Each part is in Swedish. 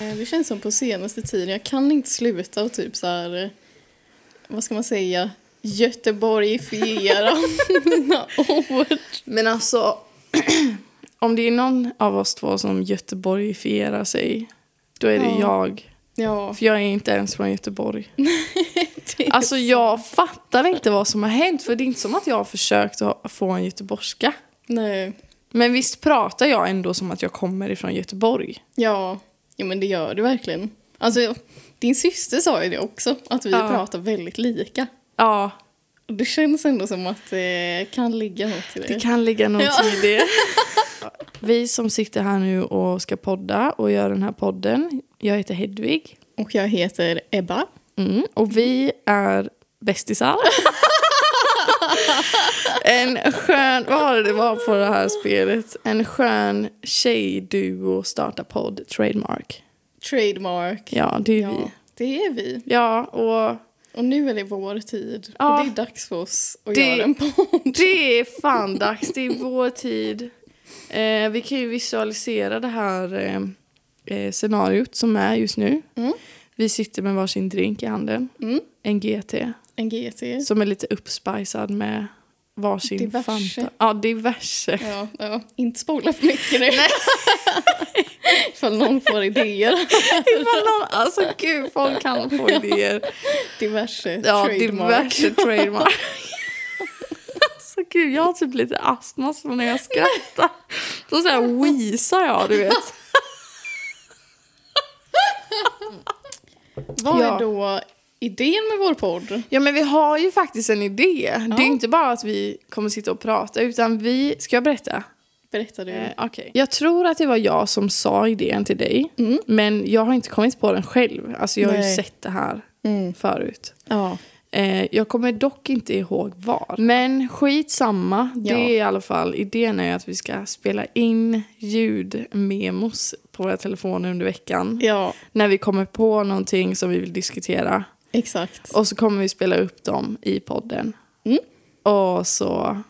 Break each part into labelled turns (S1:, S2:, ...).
S1: Eh, Det känns som på senaste tiden, jag kan inte sluta och typ så här, eh, vad ska man säga, göteborgifiera mina ord.
S2: Men alltså, om det är någon av oss två som göteborgifierar sig, då är det
S1: Ja.
S2: jag.
S1: Ja,
S2: För jag är inte ens från Göteborg.
S1: det är
S2: Alltså jag fattar inte vad som har hänt, för det är inte som att jag har försökt att få en göteborgska.
S1: Nej.
S2: Men visst pratar jag ändå som att jag kommer ifrån Göteborg?
S1: Ja, jo, men det gör du verkligen. Alltså, din syster sa ju det också, att vi
S2: Ja.
S1: pratar väldigt lika.
S2: Ja,
S1: Och det känns ändå som att det kan ligga något i det.
S2: det kan ligga något
S1: Ja.
S2: i det. Vi som sitter här nu och ska podda och göra den här podden, jag heter Hedvig.
S1: Och jag heter Ebba.
S2: Mm, och vi är bästisar. en skön, vad var det det var på det här spelet? En skön tjejduo startar podd, Trademark.
S1: Trademark.
S2: Ja, det är
S1: Ja,
S2: vi.
S1: det är vi.
S2: Ja, och
S1: Och nu är det vår tid.
S2: Ja.
S1: Och det är dags för oss att
S2: Det-
S1: göra en podd.
S2: det är fan dags, det är vår tid. Eh, vi kan ju visualisera det här eh, eh, scenariot som är just nu.
S1: Mm.
S2: Vi sitter med varsin drink i handen,
S1: Mm.
S2: en GT.
S1: En GT.
S2: Som är lite uppspajsad med varsin
S1: Diverse.
S2: Fanta. Ja, diverse.
S1: Ja, ja. Inte spola för mycket nu. Ifall någon får idéer.
S2: Ifall någon, alltså gud, folk kan få idéer.
S1: Diverse.
S2: Ja,
S1: trademark.
S2: diverse trademark. alltså gud, jag har typ lite astma så när jag skrattar. Då så här wheezar jag, du vet.
S1: Vad
S2: Ja.
S1: är då idén med vår podd?
S2: Ja, men vi har ju faktiskt en idé. Det är
S1: Ja.
S2: ju inte bara att vi kommer sitta och prata, utan vi... Ska jag berätta?
S1: Berätta du.
S2: Eh, okej. Jag tror att det var jag som sa idén till dig, men jag har inte kommit på den själv. Alltså, jag har ju
S1: Mm. Nej.
S2: sett det här
S1: Mm.
S2: förut.
S1: Ja.
S2: Eh, jag kommer dock inte ihåg var. Men skitsamma.
S1: Ja.
S2: Det är i alla fall idén är att vi ska spela in ljudmemos på våra telefoner under veckan.
S1: ja,
S2: När vi kommer på någonting som vi vill diskutera.
S1: exakt.
S2: Och så kommer vi spela upp dem i podden.
S1: Mm.
S2: Och så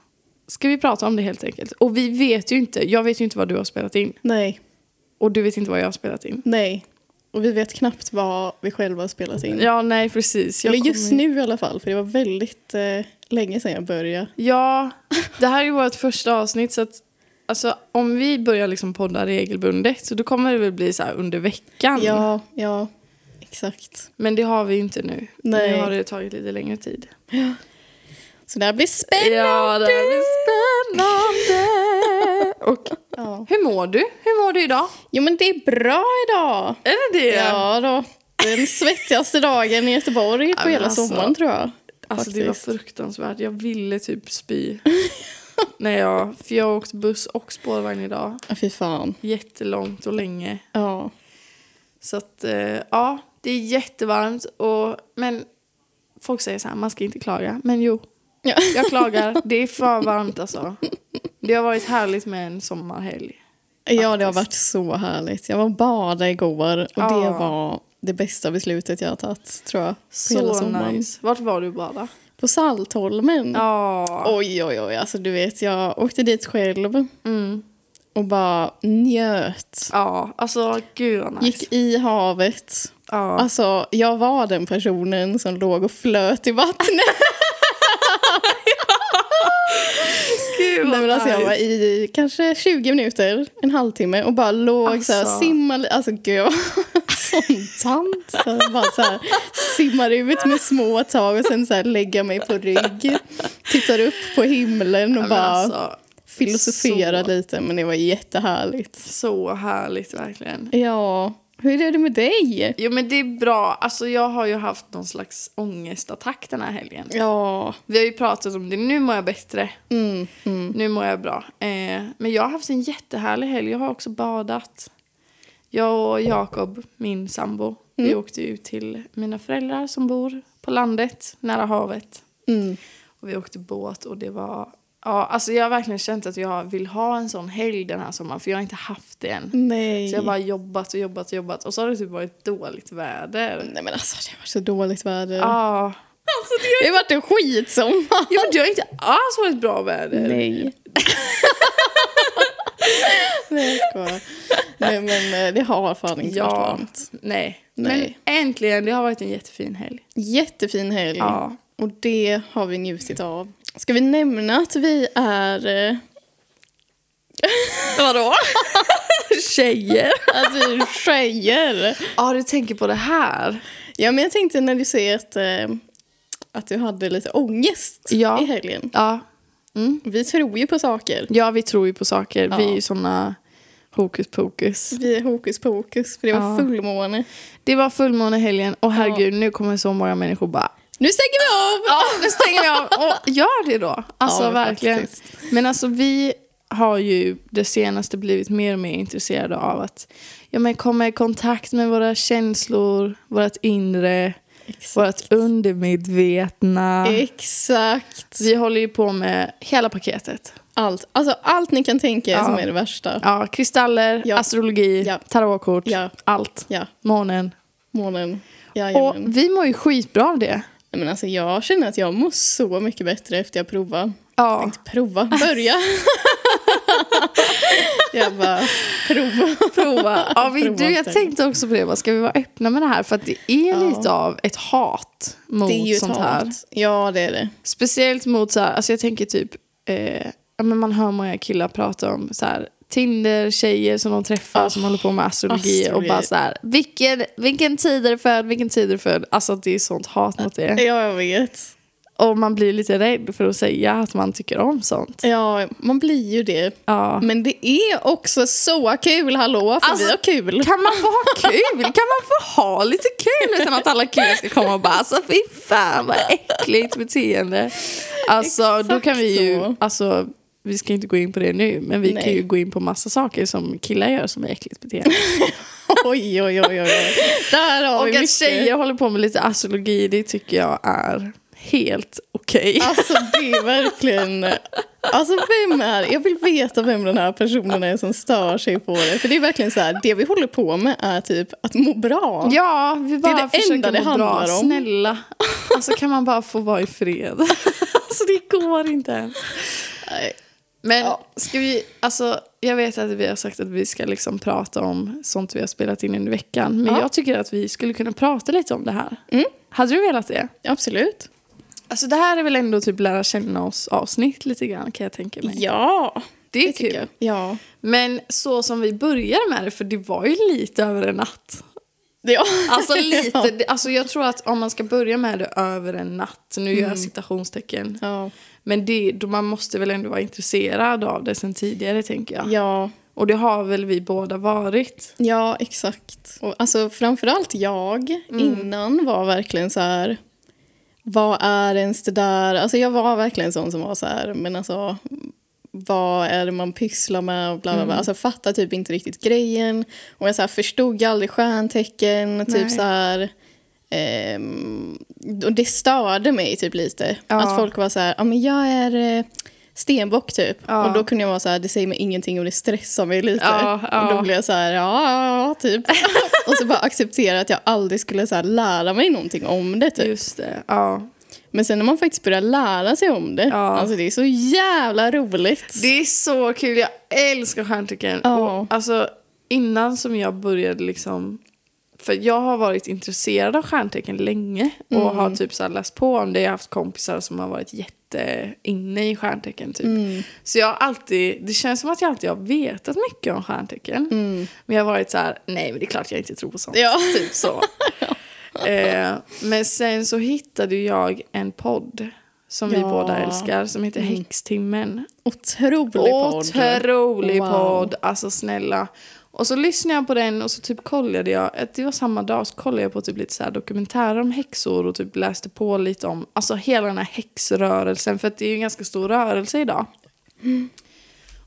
S2: ska vi prata om det helt enkelt. Och vi vet ju inte, jag vet ju inte vad du har spelat in.
S1: Nej,
S2: Och du vet inte vad jag har spelat in.
S1: nej. Och vi vet knappt vad vi själva har spelat in.
S2: Ja, nej precis. Jag
S1: Eller just
S2: kommer-
S1: nu i alla fall, för det var väldigt eh, länge sedan jag började.
S2: Ja, det här är vårt första avsnitt så att alltså, om vi börjar liksom podda regelbundet så då kommer det väl bli så här under veckan.
S1: Ja, ja, exakt.
S2: Men det har vi ju inte nu.
S1: Nej.
S2: Nu har det tagit lite längre tid.
S1: Så det här blir spännande!
S2: Ja, det här blir spännande! Och
S1: Ja.
S2: hur mår du? Hur mår du idag?
S1: Jo men det är bra idag!
S2: Är det det?
S1: Ja då. Den svettigaste dagen i Göteborg
S2: Ja,
S1: på
S2: men
S1: hela
S2: alltså,
S1: sommaren tror jag.
S2: Alltså det var
S1: faktiskt.
S2: fruktansvärt. Jag ville typ spy. När jag, för jag åkte buss och spårvagn idag.
S1: Ja, fy fan.
S2: Jättelångt och länge.
S1: Ja.
S2: Så att, eh, ja, det är jättevarmt. Och, men folk säger så här, man ska inte klaga. Men jo,
S1: Ja.
S2: jag klagar. Det är för varmt alltså. Det har varit härligt med en sommarhelg.
S1: ja, det har
S2: Faktiskt.
S1: varit så härligt. Jag var och badade igår och det
S2: Ja.
S1: var det bästa beslutet jag har tagit tror jag. På hela
S2: Så
S1: sommaren. Mm.
S2: nice. Vart var du bara?
S1: På Saltholmen.
S2: Ja.
S1: Oj, oj, oj. Alltså du vet, jag åkte dit själv
S2: Mm.
S1: och bara njöt.
S2: Ja, alltså gud vad nice.
S1: Gick i havet.
S2: Ja.
S1: Alltså, jag var den personen som låg och flöt i vattnet.
S2: Gud
S1: Nej, men alltså, jag var i kanske 20 minuter, en halvtimme och bara låg så här,
S2: Alltså.
S1: simmade. Alltså gud, jag var sån tant. Så jag bara så här, simmar ut med små tag och sen så här, lägger jag mig på rygg. Tittar upp på himlen
S2: Ja,
S1: och
S2: men
S1: bara
S2: alltså,
S1: filosoferar
S2: så-
S1: lite. Men det var jättehärligt.
S2: Så härligt verkligen.
S1: Ja, hur är det med dig?
S2: Jo men det är bra. Alltså jag har ju haft någon slags ångestattack den här helgen.
S1: Ja,
S2: Vi har ju pratat om det, nu mår jag bättre.
S1: mm, mm.
S2: Nu mår jag bra. Eh, men jag har haft en jättehärlig helg. Jag har också badat. Jag och Jakob, min sambo, vi
S1: Mm.
S2: åkte ut till mina föräldrar som bor på landet, nära havet.
S1: Mm.
S2: Och vi åkte båt och det var... Ja, alltså jag har verkligen känt att jag vill ha en sån helg den här sommaren för jag har inte haft det än.
S1: Nej.
S2: Så jag har bara jobbat och jobbat och jobbat och så har det typ varit dåligt väder.
S1: Nej men alltså det har varit så dåligt väder.
S2: Ja. Alltså det
S1: Det har varit en skitsommar.
S2: Ja, men det har inte alls varit bra väder.
S1: Nej. Nej, jag skojar. Nej, men eh, det har fan inte varit
S2: Ja,
S1: varmt.
S2: nej.
S1: Nej.
S2: Men äntligen, det har varit en jättefin helg.
S1: Jättefin helg.
S2: Ja.
S1: Och det har vi njutit av. Ska vi nämna att vi är... eh,
S2: Vadå? Tjejer?
S1: Att vi är tjejer.
S2: Ja, du tänker på det här.
S1: Ja, men jag tänkte när du säger att, eh, att du hade lite ångest
S2: Ja.
S1: i helgen.
S2: Ja. Mm.
S1: Vi tror ju på saker.
S2: Ja, vi tror ju på saker. Vi är
S1: Ja.
S2: ju såna hokus pokus.
S1: Vi är hokus pokus, för det var
S2: Ja.
S1: fullmåne.
S2: Det var fullmåne i helgen och herregud, nu kommer så många människor bara
S1: Nu stänger vi av!
S2: Ja, nu stänger vi av. Och gör det då. Alltså
S1: Ja,
S2: verkligen.
S1: faktiskt.
S2: Men alltså vi har ju det senaste blivit mer och mer intresserade av att ja, men komma i kontakt med våra känslor, vårt inre, vårt undermedvetna.
S1: Exakt.
S2: Vi håller ju på med hela paketet.
S1: Allt. Alltså allt ni kan tänka er
S2: Ja.
S1: som är det värsta.
S2: Ja, kristaller,
S1: Ja.
S2: astrologi,
S1: Ja.
S2: tarotkort,
S1: Ja.
S2: allt.
S1: Ja,
S2: Månen.
S1: månen.
S2: Och
S1: Jajamän.
S2: vi mår ju skitbra av det.
S1: Nej, Men alltså, jag känner att jag mår så mycket bättre efter jag provar.
S2: Ja.
S1: Prova, börja. jag bara, prova.
S2: prova. Ja, vi,
S1: Prova
S2: du, jag
S1: inte.
S2: tänkte också på det. Vad Ska vi vara öppna med det här? För att det är lite av ett hat mot
S1: Det är ju ett
S2: sånt här.
S1: hat. Ja, det är det.
S2: Speciellt mot så här, alltså jag tänker typ, eh, ja, men man hör många killar prata om så här, Tinder, tjejer som de träffar som håller på med astrologi och
S1: Ah, astrologi.
S2: bara så här, vilken, vilken tid är du född, vilken tid är du född? Alltså att det är sånt hat mot det.
S1: Ja, jag vet.
S2: Och man blir lite rädd för att säga att man tycker om sånt.
S1: Ja, man blir ju det.
S2: Ja.
S1: Men det är också så kul, hallå, för
S2: Alltså,
S1: vi har kul.
S2: Kan man få ha kul? Kan man få ha lite kul utan att alla killar ska komma och bara alltså fy fan vad äckligt beteende. Alltså då kan vi ju,
S1: så.
S2: alltså vi ska inte gå in på det nu men vi kan
S1: Nej.
S2: ju gå in på massa saker som killar gör som är äckligt beteende.
S1: Oj, oj, oj, oj. oj. Där har
S2: och
S1: vi
S2: att
S1: mycket.
S2: tjejer håller på med lite astrologi det tycker jag är helt okej.
S1: Alltså det är verkligen... Alltså vem är... Jag vill veta vem den här personen är som stör sig på det. För det är verkligen så här, det vi håller på med är typ att må bra.
S2: Ja, vi bara
S1: det
S2: försöker
S1: enda det
S2: må bra.
S1: handlar om.
S2: Snälla. Alltså kan man bara få vara i fred? Alltså det går inte ens.
S1: Nej.
S2: Men
S1: Ja.
S2: ska vi, alltså jag vet att vi har sagt att vi ska liksom prata om sånt vi har spelat in under veckan. Men
S1: Ja.
S2: jag tycker att vi skulle kunna prata lite om det här.
S1: Mm.
S2: Hade du velat det?
S1: Absolut.
S2: Alltså det här är väl ändå typ lära känna oss avsnitt lite grann kan jag tänka mig.
S1: Ja,
S2: det är
S1: tycker
S2: kul.
S1: jag. Ja.
S2: Men så som vi började med det, för det var ju lite över en natt.
S1: ja.
S2: Alltså
S1: Ja.
S2: lite, det- alltså jag tror att om man ska börja med det över en natt, nu gör jag citationstecken.
S1: Ja.
S2: Men det, då man måste väl ändå vara intresserad av det sen tidigare tänker jag.
S1: ja.
S2: Och det har väl vi båda varit.
S1: Ja, exakt. Och alltså framförallt jag
S2: Mm.
S1: innan var verkligen så här... Vad är ens det där? Alltså jag var verkligen sån som var så här, men alltså vad är det man pysslar med och bla bla bla.
S2: Mm.
S1: Alltså jag fattar typ inte riktigt grejen. Och jag så här förstod aldrig stjärntecken, typ
S2: Nej.
S1: så här. ehm, och det störde mig typ lite.
S2: Ja.
S1: Att folk var så här, ja men jag är eh, stenbock typ.
S2: Ja.
S1: Och då kunde jag vara så här, det säger mig ingenting och det stressar mig lite.
S2: Ja, ja.
S1: Och då blev jag så här, ja, ja, ja, typ. och så bara acceptera att jag aldrig skulle så här, lära mig någonting om det. Typ.
S2: Just det. Ja.
S1: Men sen när man faktiskt börjar lära sig om det,
S2: Ja.
S1: alltså det är så jävla roligt.
S2: Det är så kul. Jag älskar stjärntecken.
S1: Ja.
S2: Och, Alltså, innan som jag började liksom... För jag har varit intresserad av stjärntecken länge och
S1: Mm.
S2: har typ så här läst på om det. Jag har haft kompisar som har varit jätteinne i stjärntecken typ.
S1: Mm.
S2: Så jag har alltid, det känns som att jag alltid har vetat mycket om stjärntecken. Men jag har varit så här, nej men det är klart jag inte tror på sånt.
S1: Mm. Ja.
S2: Typ så. eh, men sen så hittade ju jag en podd som vi
S1: Ja. Mm.
S2: båda älskar som heter Häxtimmen.
S1: Otrolig podd.
S2: Otrolig
S1: Wow.
S2: podd. Alltså snälla. Och så lyssnade jag på den och så typ kollade jag, att det var samma dag, så kollade jag på typ lite så här dokumentärer om häxor och typ läste på lite om alltså hela den här häxrörelsen för att det är ju en ganska stor rörelse idag.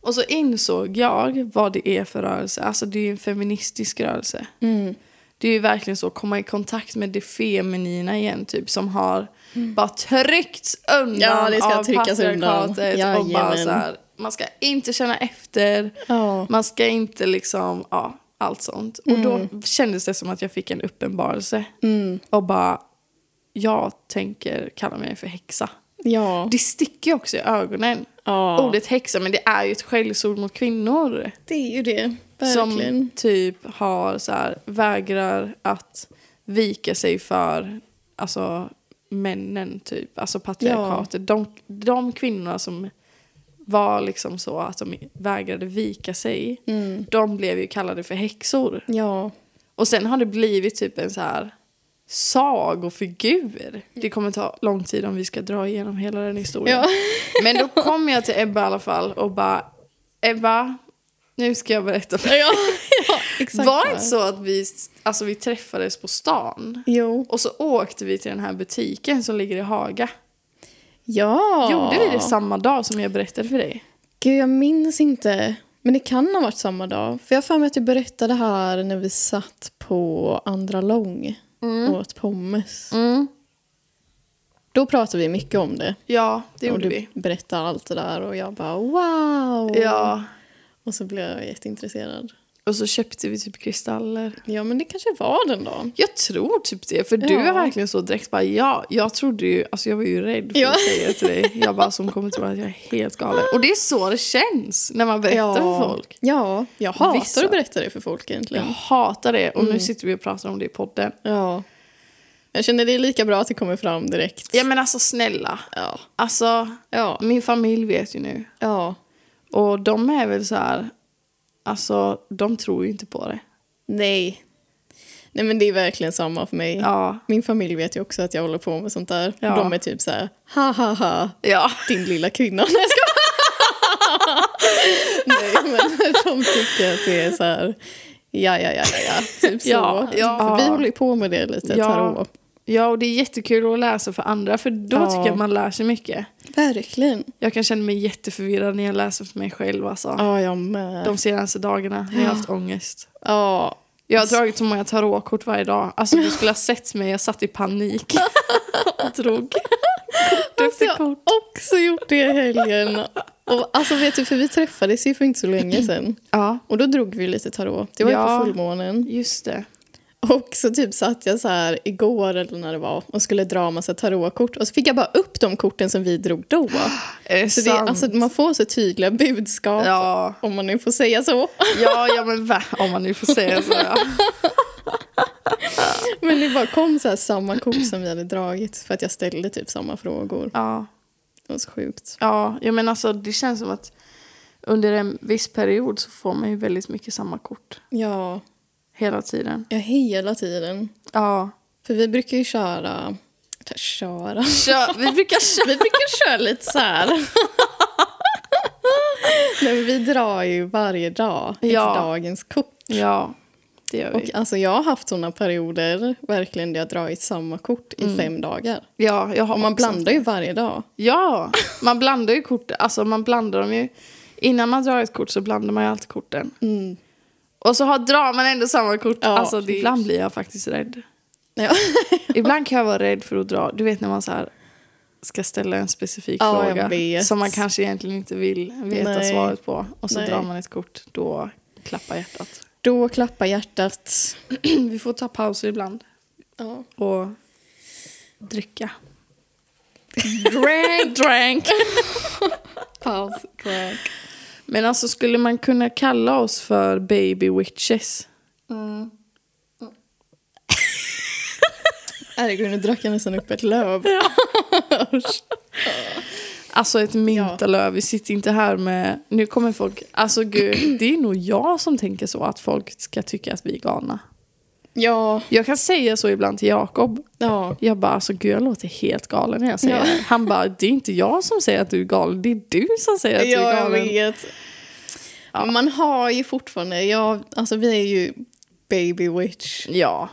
S2: Och så insåg jag vad det är för rörelse, alltså det är ju en feministisk rörelse.
S1: Mm.
S2: Det är ju verkligen så, komma i kontakt med det feminina igen typ som har bara tryckts undan
S1: Mm. Ja, det ska
S2: av
S1: tryckas undan.
S2: patriarkatet och bara
S1: Jajamän.
S2: så här, man ska inte känna efter,
S1: Ja.
S2: man ska inte liksom, ja, allt sånt. Och
S1: Mm.
S2: då kändes det som att jag fick en uppenbarelse och bara, jag tänker kalla mig för häxa.
S1: Ja.
S2: Det sticker ju också i ögonen.
S1: Ja.
S2: Ordet häxa, men det är ju ett skällsord mot kvinnor.
S1: Det är ju det. Verkligen.
S2: Som typ har så här, vägrar att vika sig för alltså, männen, typ. Alltså patriarkatet. De, de kvinnorna som var liksom så att de vägrade vika sig.
S1: Mm.
S2: De blev ju kallade för häxor.
S1: Ja.
S2: Och sen har det blivit typ en så här sagofigur. Det kommer ta lång tid om vi ska dra igenom hela den historien.
S1: Mm. Ja.
S2: Men då kom jag till Ebba i alla fall och bara Ebba, nu ska jag berätta för dig.
S1: ja. ja exakt.
S2: Var det inte så att vi, alltså, vi träffades på stan?
S1: Jo.
S2: Och så åkte vi till den här butiken som ligger i Haga.
S1: Ja.
S2: Gjorde vi det samma dag som jag berättade för dig?
S1: Gud, jag minns inte. Men det kan ha varit samma dag. För jag har för mig att du berättade här när vi satt på Andra Lång
S2: Mm.
S1: och åt pommes. Då pratade vi mycket om det.
S2: Ja, det
S1: och
S2: gjorde
S1: du
S2: vi.
S1: berättade allt det där och jag bara wow.
S2: Ja.
S1: Och så blev jag jätteintresserad.
S2: Och så köpte vi typ kristaller.
S1: Ja, men det kanske var den dagen.
S2: Jag tror typ det, för du
S1: Ja.
S2: är verkligen så direkt bara ja, jag trodde ju, alltså jag var ju rädd för
S1: Ja.
S2: att säga till dig. Jag bara som kommer tro att jag är helt galen. Och det är så det känns när man berättar för folk.
S1: Ja, jag hatar
S2: Vissa.
S1: att berätta det för folk
S2: Jag
S1: egentligen.
S2: hatar det och nu sitter vi och pratar om det i podden.
S1: Ja. Jag känner det är lika bra att det kommer fram direkt.
S2: Ja men alltså snälla,
S1: Ja.
S2: alltså
S1: Ja.
S2: min familj vet ju nu.
S1: ja.
S2: Och de är väl så här, alltså de tror ju inte på det.
S1: Nej. Nej men det är verkligen samma för mig.
S2: Ja.
S1: Min familj vet ju också att jag håller på med sånt där.
S2: Ja.
S1: De är typ så här, ha ha ha,
S2: Ja.
S1: din lilla kvinna. Nej, jag skojar. Nej men de tycker att det är så här, ja ja ja ja, ja. typ så.
S2: Ja, ja.
S1: För vi håller ju på med det lite,
S2: Ja.
S1: tarot.
S2: Ja, och det är jättekul att läsa för andra för då
S1: Ja.
S2: tycker jag man lär sig mycket.
S1: Verkligen.
S2: Jag kan känna mig jätteförvirrad när jag läser för mig själv alltså.
S1: Ja, jag med.
S2: De senaste dagarna när jag har haft ångest.
S1: Ja.
S2: Jag har dragit så många tarotkort varje dag. Alltså du skulle ha sett mig, jag satt i panik. och drog. Kort
S1: Alltså,
S2: efter
S1: jag har
S2: kort.
S1: också gjort det i helgen. Och, alltså vet du, för vi träffades ju för inte så länge sedan.
S2: Ja,
S1: Och då drog vi lite tarot. Det var ju
S2: Ja.
S1: på fullmånen.
S2: just det.
S1: Och så typ satt jag så här igår eller när det var och skulle dra massa tarotkort. Och så fick jag bara upp de korten som vi drog då.
S2: Är det
S1: Så det,
S2: sant?
S1: alltså, man får så tydliga budskap.
S2: ja.
S1: Om man nu får säga så.
S2: Ja, ja men va? Om man nu får säga så. Ja.
S1: Men det bara kom så här samma kort som vi hade dragit för att jag ställde typ samma frågor.
S2: ja.
S1: Det var så sjukt.
S2: Ja, jag menar alltså det känns som att under en viss period så får man ju väldigt mycket samma kort.
S1: Ja,
S2: Hela tiden.
S1: jag hela tiden.
S2: Ja.
S1: För vi brukar ju köra... Köra?
S2: Kör, vi brukar köra.
S1: Vi brukar köra lite så här. Nej, men vi drar ju varje dag ett
S2: Ja.
S1: dagens kort.
S2: Ja, det gör vi.
S1: Och alltså, jag har haft såna perioder verkligen där jag dragit samma kort i fem dagar.
S2: Ja, jag har
S1: Och man
S2: också.
S1: blandar ju varje dag.
S2: Ja, man blandar ju korten. Alltså man blandar dem ju. Innan man drar ett kort så blandar man ju alltid korten. Och så har, drar man ändå samma kort.
S1: Ja,
S2: alltså
S1: det-
S2: ibland blir jag faktiskt rädd.
S1: Ja,
S2: Ibland kan jag vara rädd för att dra. Du vet när man så här ska ställa en specifik
S1: Ja, jag
S2: fråga.
S1: vet.
S2: Som man kanske egentligen inte vill veta
S1: Nej.
S2: svaret på. Och så
S1: Nej.
S2: drar man ett kort. Då klappar hjärtat.
S1: Då klappar hjärtat.
S2: Vi får ta pauser ibland.
S1: Ja.
S2: Och dricka. Drank, drank.
S1: Paus. Crack.
S2: Men alltså skulle man kunna kalla oss för baby witches?
S1: Herregud, nu drack jag nästan upp ett löv. Usch.
S2: Alltså ett myntalöv, vi sitter inte här med... Nu kommer folk... Alltså gud, det är nog jag som tänker så att folk ska tycka att vi är galna.
S1: ja.
S2: Jag kan säga så ibland till Jakob.
S1: ja.
S2: Jag bara, alltså gud jag låter helt galen när jag säger
S1: Ja.
S2: det. Han bara, det är inte jag som säger att du är galen, det är du som säger att du
S1: Ja,
S2: är
S1: jag
S2: galen.
S1: vet. Man har ju fortfarande... Ja, alltså, vi är ju baby witch.
S2: Ja,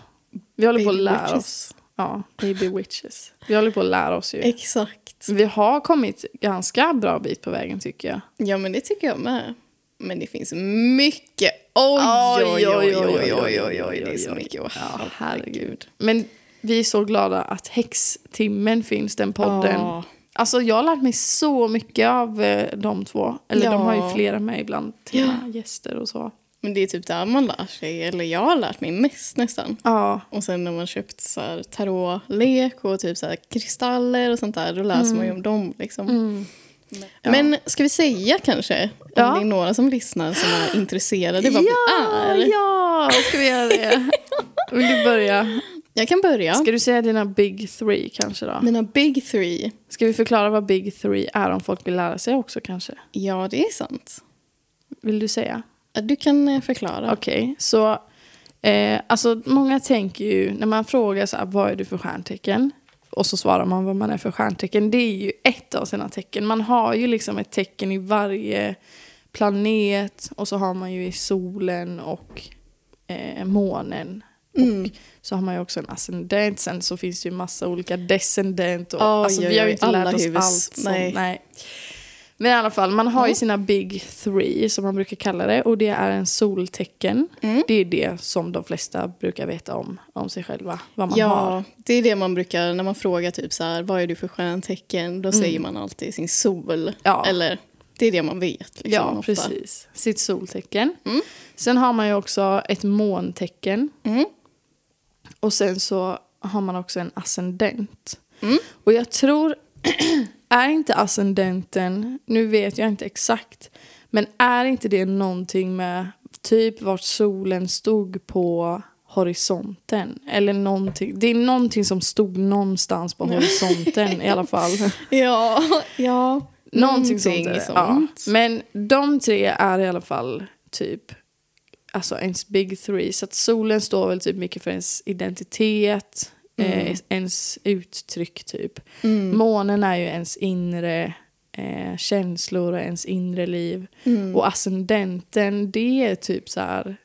S2: vi håller på att
S1: Baby
S2: lära
S1: witches.
S2: oss. Ja, baby witches. Vi håller på att lära oss ju.
S1: Exakt.
S2: Vi har kommit ganska bra bit på vägen tycker jag.
S1: Ja, men det tycker jag med. Men det finns mycket. Oj, oj, oj, oj, oj, oj, oj, det är så mycket. Åh,
S2: Ja, herregud. Men vi är så glada att Häxtimmen finns, den podden.
S1: Ja.
S2: Alltså jag har lärt mig så mycket av eh, de två. Eller de
S1: Ja.
S2: har ju flera med ibland, till mina gäster och så.
S1: Men det är typ där man lär sig, eller jag har lärt mig mest nästan.
S2: Ja,
S1: Och sen när man köpt så här tarotlek och typ så här kristaller och sånt där, då läser man ju om dem. Liksom. Men ska vi säga kanske Om
S2: Ja.
S1: det är några som lyssnar som är intresserade vad
S2: ja,
S1: vi är.
S2: ja, ska vi göra det? Vill du börja?
S1: Jag kan börja.
S2: Ska du säga dina big three kanske då?
S1: Mina big three.
S2: Ska vi förklara vad big three är om folk vill lära sig också kanske?
S1: Ja, det är sant.
S2: Vill du säga?
S1: Du kan eh, förklara.
S2: Okej, så eh, alltså många tänker ju när man frågar så här, vad är du för stjärntecken? Och så svarar man vad man är för stjärntecken. Det är ju ett av sina tecken. Man har ju liksom ett tecken i varje planet och så har man ju i solen och eh, månen.
S1: Mm.
S2: Och så har man ju också en ascendent. Sen så finns det ju massa olika descendent. Och,
S1: Oj,
S2: alltså, vi har
S1: oj,
S2: ju
S1: oj,
S2: inte
S1: alla
S2: lärt oss
S1: huvud-
S2: allt. Sånt.
S1: nej.
S2: Nej. Men i alla fall, man har ju sina big three som man brukar kalla det. Och det är en soltecken.
S1: Mm.
S2: Det är det som de flesta brukar veta om, om sig själva. Vad man
S1: ja,
S2: har.
S1: det är det man brukar, när man frågar typ så här, vad är du för stjärntecken? Då säger man alltid sin sol.
S2: Mm. Ja.
S1: Eller, det är det man vet. Liksom,
S2: ja,
S1: ofta.
S2: precis. Sitt soltecken.
S1: Mm.
S2: Sen har man ju också ett måntecken.
S1: Mm.
S2: Och sen så har man också en ascendent.
S1: Mm.
S2: Och jag tror, är inte ascendenten, nu vet jag inte exakt, men är inte det någonting med typ vart solen stod på horisonten? Eller någonting, det är någonting som stod någonstans på horisonten i alla fall.
S1: Ja, ja.
S2: Någonting, sånt.
S1: Någonting
S2: är det. Ja.
S1: sånt.
S2: Men de tre är i alla fall typ alltså ens big three. Så att solen står väl typ mycket för ens identitet, eh, ens uttryck typ.
S1: Mm.
S2: Månen är ju ens inre eh, känslor och ens inre liv.
S1: Mm.
S2: Och ascendenten, det är typ så här...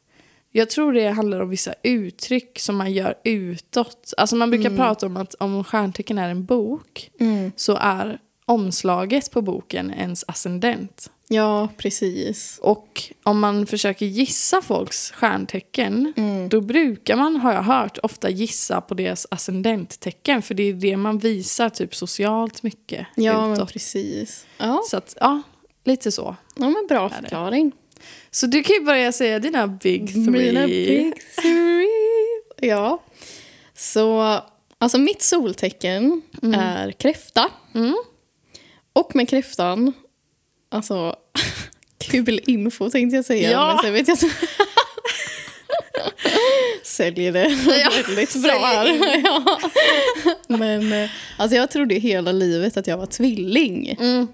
S2: Jag tror det handlar om vissa uttryck som man gör utåt. Alltså man brukar prata om att om stjärntecken är en bok
S1: Mm.
S2: så är omslaget på boken ens ascendent.
S1: Ja, precis.
S2: Och om man försöker gissa folks stjärntecken
S1: Mm.
S2: då brukar man, har jag hört, ofta gissa på deras ascendenttecken för det är det man visar typ socialt mycket
S1: Ja, men
S2: utåt.
S1: precis. Ja,
S2: Så att, ja, lite så.
S1: ja men bra
S2: det.
S1: förklaring.
S2: Så du kan ju börja säga dina big three.
S1: Mina big three. Ja. Så, alltså mitt soltecken är kräfta.
S2: Mm.
S1: Och med kräftan, alltså kul info tänkte jag säga.
S2: Ja.
S1: Men sen vet jag inte. Säljer det
S2: Ja,
S1: väldigt bra
S2: säljer
S1: här. Ja. Men eh, alltså jag trodde hela livet att jag var tvilling.
S2: Mm.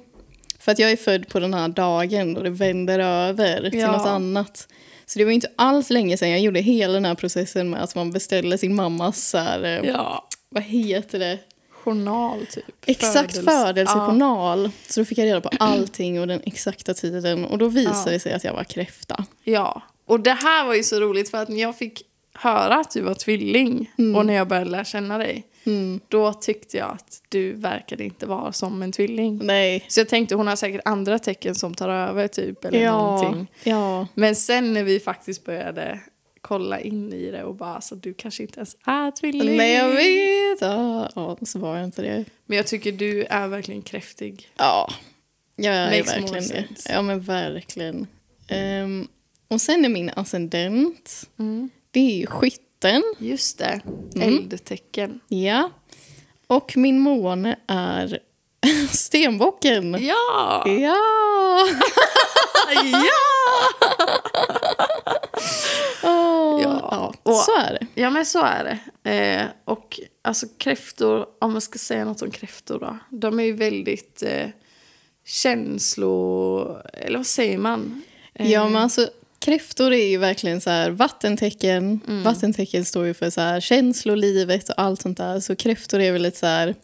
S1: För att jag är född på den här dagen då det vänder över till
S2: Ja.
S1: något annat. Så det var ju inte alls länge sedan jag gjorde hela den här processen med att man beställer sin mammas, så här, eh,
S2: Ja,
S1: vad heter det?
S2: journal typ.
S1: Exakt
S2: Födelse.
S1: födelsejournal. Så då fick jag reda på allting och den exakta tiden. Och då visade
S2: Ja.
S1: det sig att jag var kräfta.
S2: Ja, och det här var ju så roligt för att när jag fick höra att du var tvilling
S1: Mm.
S2: och när jag började lära känna dig, då tyckte jag att du verkade inte vara som en tvilling.
S1: Nej.
S2: Så jag tänkte hon har säkert andra tecken som tar över typ eller
S1: Ja.
S2: någonting.
S1: ja.
S2: Men sen när vi faktiskt började kolla in i det och bara alltså du kanske inte ens är tvilling.
S1: Nej, jag vet. Ja, ja, så var jag inte det.
S2: Men jag tycker du är verkligen kräftig.
S1: Ja, jag är
S2: Makes more
S1: verkligen det.
S2: sense.
S1: Ja, men verkligen. Ehm, och sen är min ascendent,
S2: Mm.
S1: det är ju skytten.
S2: Just det, eldtecken.
S1: Ja. Och min måne är stenbocken.
S2: Ja!
S1: Ja!
S2: ja!
S1: Åh,
S2: Ja.
S1: ja.
S2: Och-
S1: så är det.
S2: Ja, men så är det. Eh, och alltså kräftor, om man ska säga något om kräftor då. De är ju väldigt eh, känslo... Eller vad säger man? Eh,
S1: Ja, men alltså, kräftor är ju verkligen så här vattentecken.
S2: Mm.
S1: Vattentecken står ju för så här känslolivet och allt sånt där. Så kräftor är väl lite så här...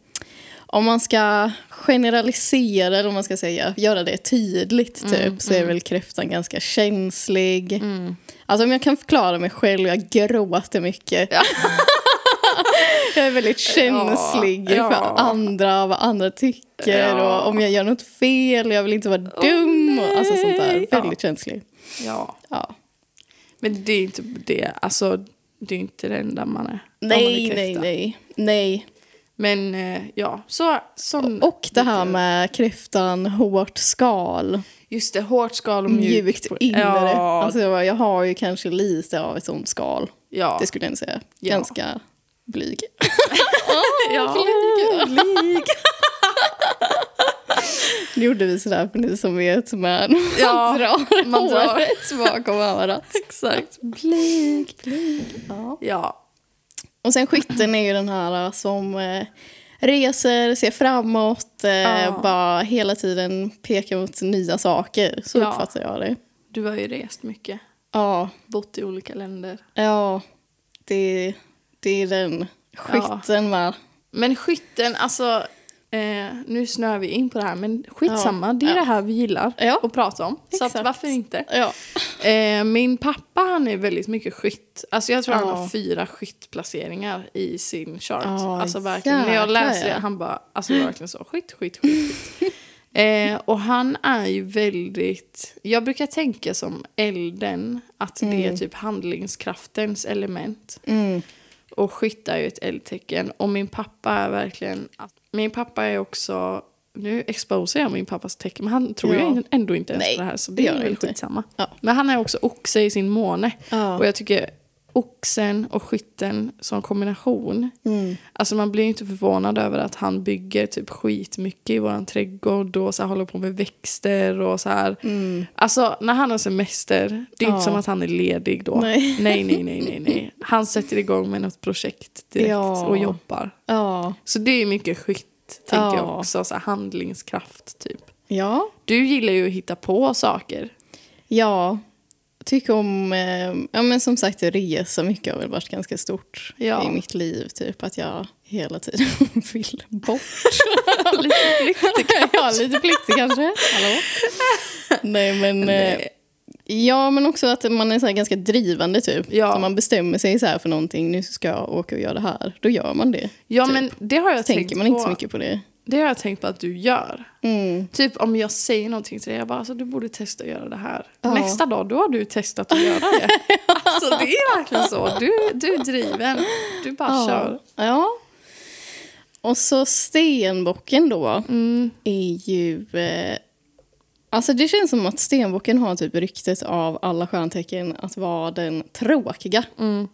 S1: Om man ska generalisera, eller om man ska säga, göra det tydligt typ,
S2: Mm,
S1: så är väl kräftan ganska känslig. Alltså om jag kan förklara mig själv, jag gråter mycket. jag är väldigt känslig
S2: Ja, ja.
S1: för andra, vad andra tycker
S2: Ja.
S1: och om jag gör något fel, jag vill inte vara dum. och alltså sånt där,
S2: nej.
S1: väldigt känslig.
S2: ja.
S1: Ja.
S2: Men det är ju inte det. Alltså, det är ju inte det enda man är. om man är
S1: Nej,
S2: kräfta.
S1: nej, nej, nej.
S2: Men eh, ja, så... Sån,
S1: Och det här med kräftan, hårt skal,
S2: Just det, hårt skal och mjukt.
S1: mjukt inre.
S2: Ja,
S1: Alltså, jag har ju kanske lite av ett sånt skal,
S2: ja.
S1: det skulle jag nog säga.
S2: Ja.
S1: Ganska blyg.
S2: ja.
S1: blyg. Nu gjorde vi sådär för ni som vet, men man
S2: Ja,
S1: drar
S2: man drar.
S1: håret bakom örat.
S2: Exakt.
S1: Blik, blik. Ja.
S2: Ja.
S1: Och sen skytten är ju den här eh, som eh, reser, ser framåt, eh,
S2: Ja.
S1: bara hela tiden pekar mot nya saker. Så
S2: Ja.
S1: uppfattar jag det.
S2: Du har ju rest mycket.
S1: Ja,
S2: Bott i olika länder.
S1: ja. Det, det är den skytten med.
S2: Men skytten, alltså... Eh, nu snör vi in på det här, men skitsamma. Det är
S1: Ja.
S2: det här vi gillar
S1: Ja.
S2: att prata om. Så
S1: Exakt.
S2: att, varför inte?
S1: Ja.
S2: Eh, min pappa han är väldigt mycket skytt. Alltså jag tror han
S1: Ja.
S2: har fyra skyttplaceringar i sin chart.
S1: Ja,
S2: alltså verkligen. När jag
S1: jäklar,
S2: läser det,
S1: ja.
S2: han bara, alltså verkligen så, skytt, skytt, skytt. skytt. eh, och han är ju väldigt, jag brukar tänka som elden, att det är typ handlingskraftens element.
S1: Mm.
S2: Och skytt är ju ett eldtecken. Och min pappa är verkligen... Min pappa är också... Nu exposerar jag min pappas tecken, men han tror
S1: Ja.
S2: ju ändå inte ens
S1: Nej,
S2: på det här. Så
S1: det
S2: det
S1: gör
S2: är väl
S1: inte.
S2: skitsamma.
S1: Ja.
S2: Men han är också oxe i sin måne.
S1: Ja.
S2: Och jag tycker oxen och skytten som kombination.
S1: Mm.
S2: Alltså man blir ju inte förvånad över att han bygger typ skitmycket i våran trädgård och så här håller på med växter och så här. Alltså när han har semester, det är
S1: Mm. Ja.
S2: inte som att han är ledig då.
S1: Nej.
S2: nej, nej, nej, nej. nej. Han sätter igång med något projekt direkt
S1: Ja.
S2: och jobbar.
S1: Ja.
S2: Så det är mycket skytt, tänker
S1: Ja.
S2: jag också. Så här, handlingskraft, typ.
S1: Ja.
S2: Du gillar ju att hitta på saker.
S1: Ja. Tycker om, eh, ja men som sagt resa mycket har väl varit ganska stort
S2: Ja.
S1: i mitt liv. Typ att jag hela tiden vill bort.
S2: Lite flyktigt.
S1: ja, lite pliktig kanske. Hallå? Nej men, eh, ja men också att man är så här ganska drivande typ.
S2: Ja.
S1: Så man bestämmer sig så här för någonting, nu ska jag åka och göra det här. Då gör man det.
S2: Ja,
S1: typ.
S2: men det har jag tänkt
S1: Tänker man inte
S2: på.
S1: så mycket på det.
S2: Det har jag tänkt på att du gör.
S1: Mm.
S2: Typ om jag säger någonting till dig, jag bara alltså, du borde testa att göra det här.
S1: Ja.
S2: Nästa dag, då har du testat att göra det. alltså det är verkligen så. Du, du är driven. Du bara kör.
S1: Ja. Och så stenbocken då.
S2: Mm.
S1: är ju... Eh, alltså det känns som att stenbocken har typ ryktet av alla stjärntecken att vara den tråkiga.
S2: Mm.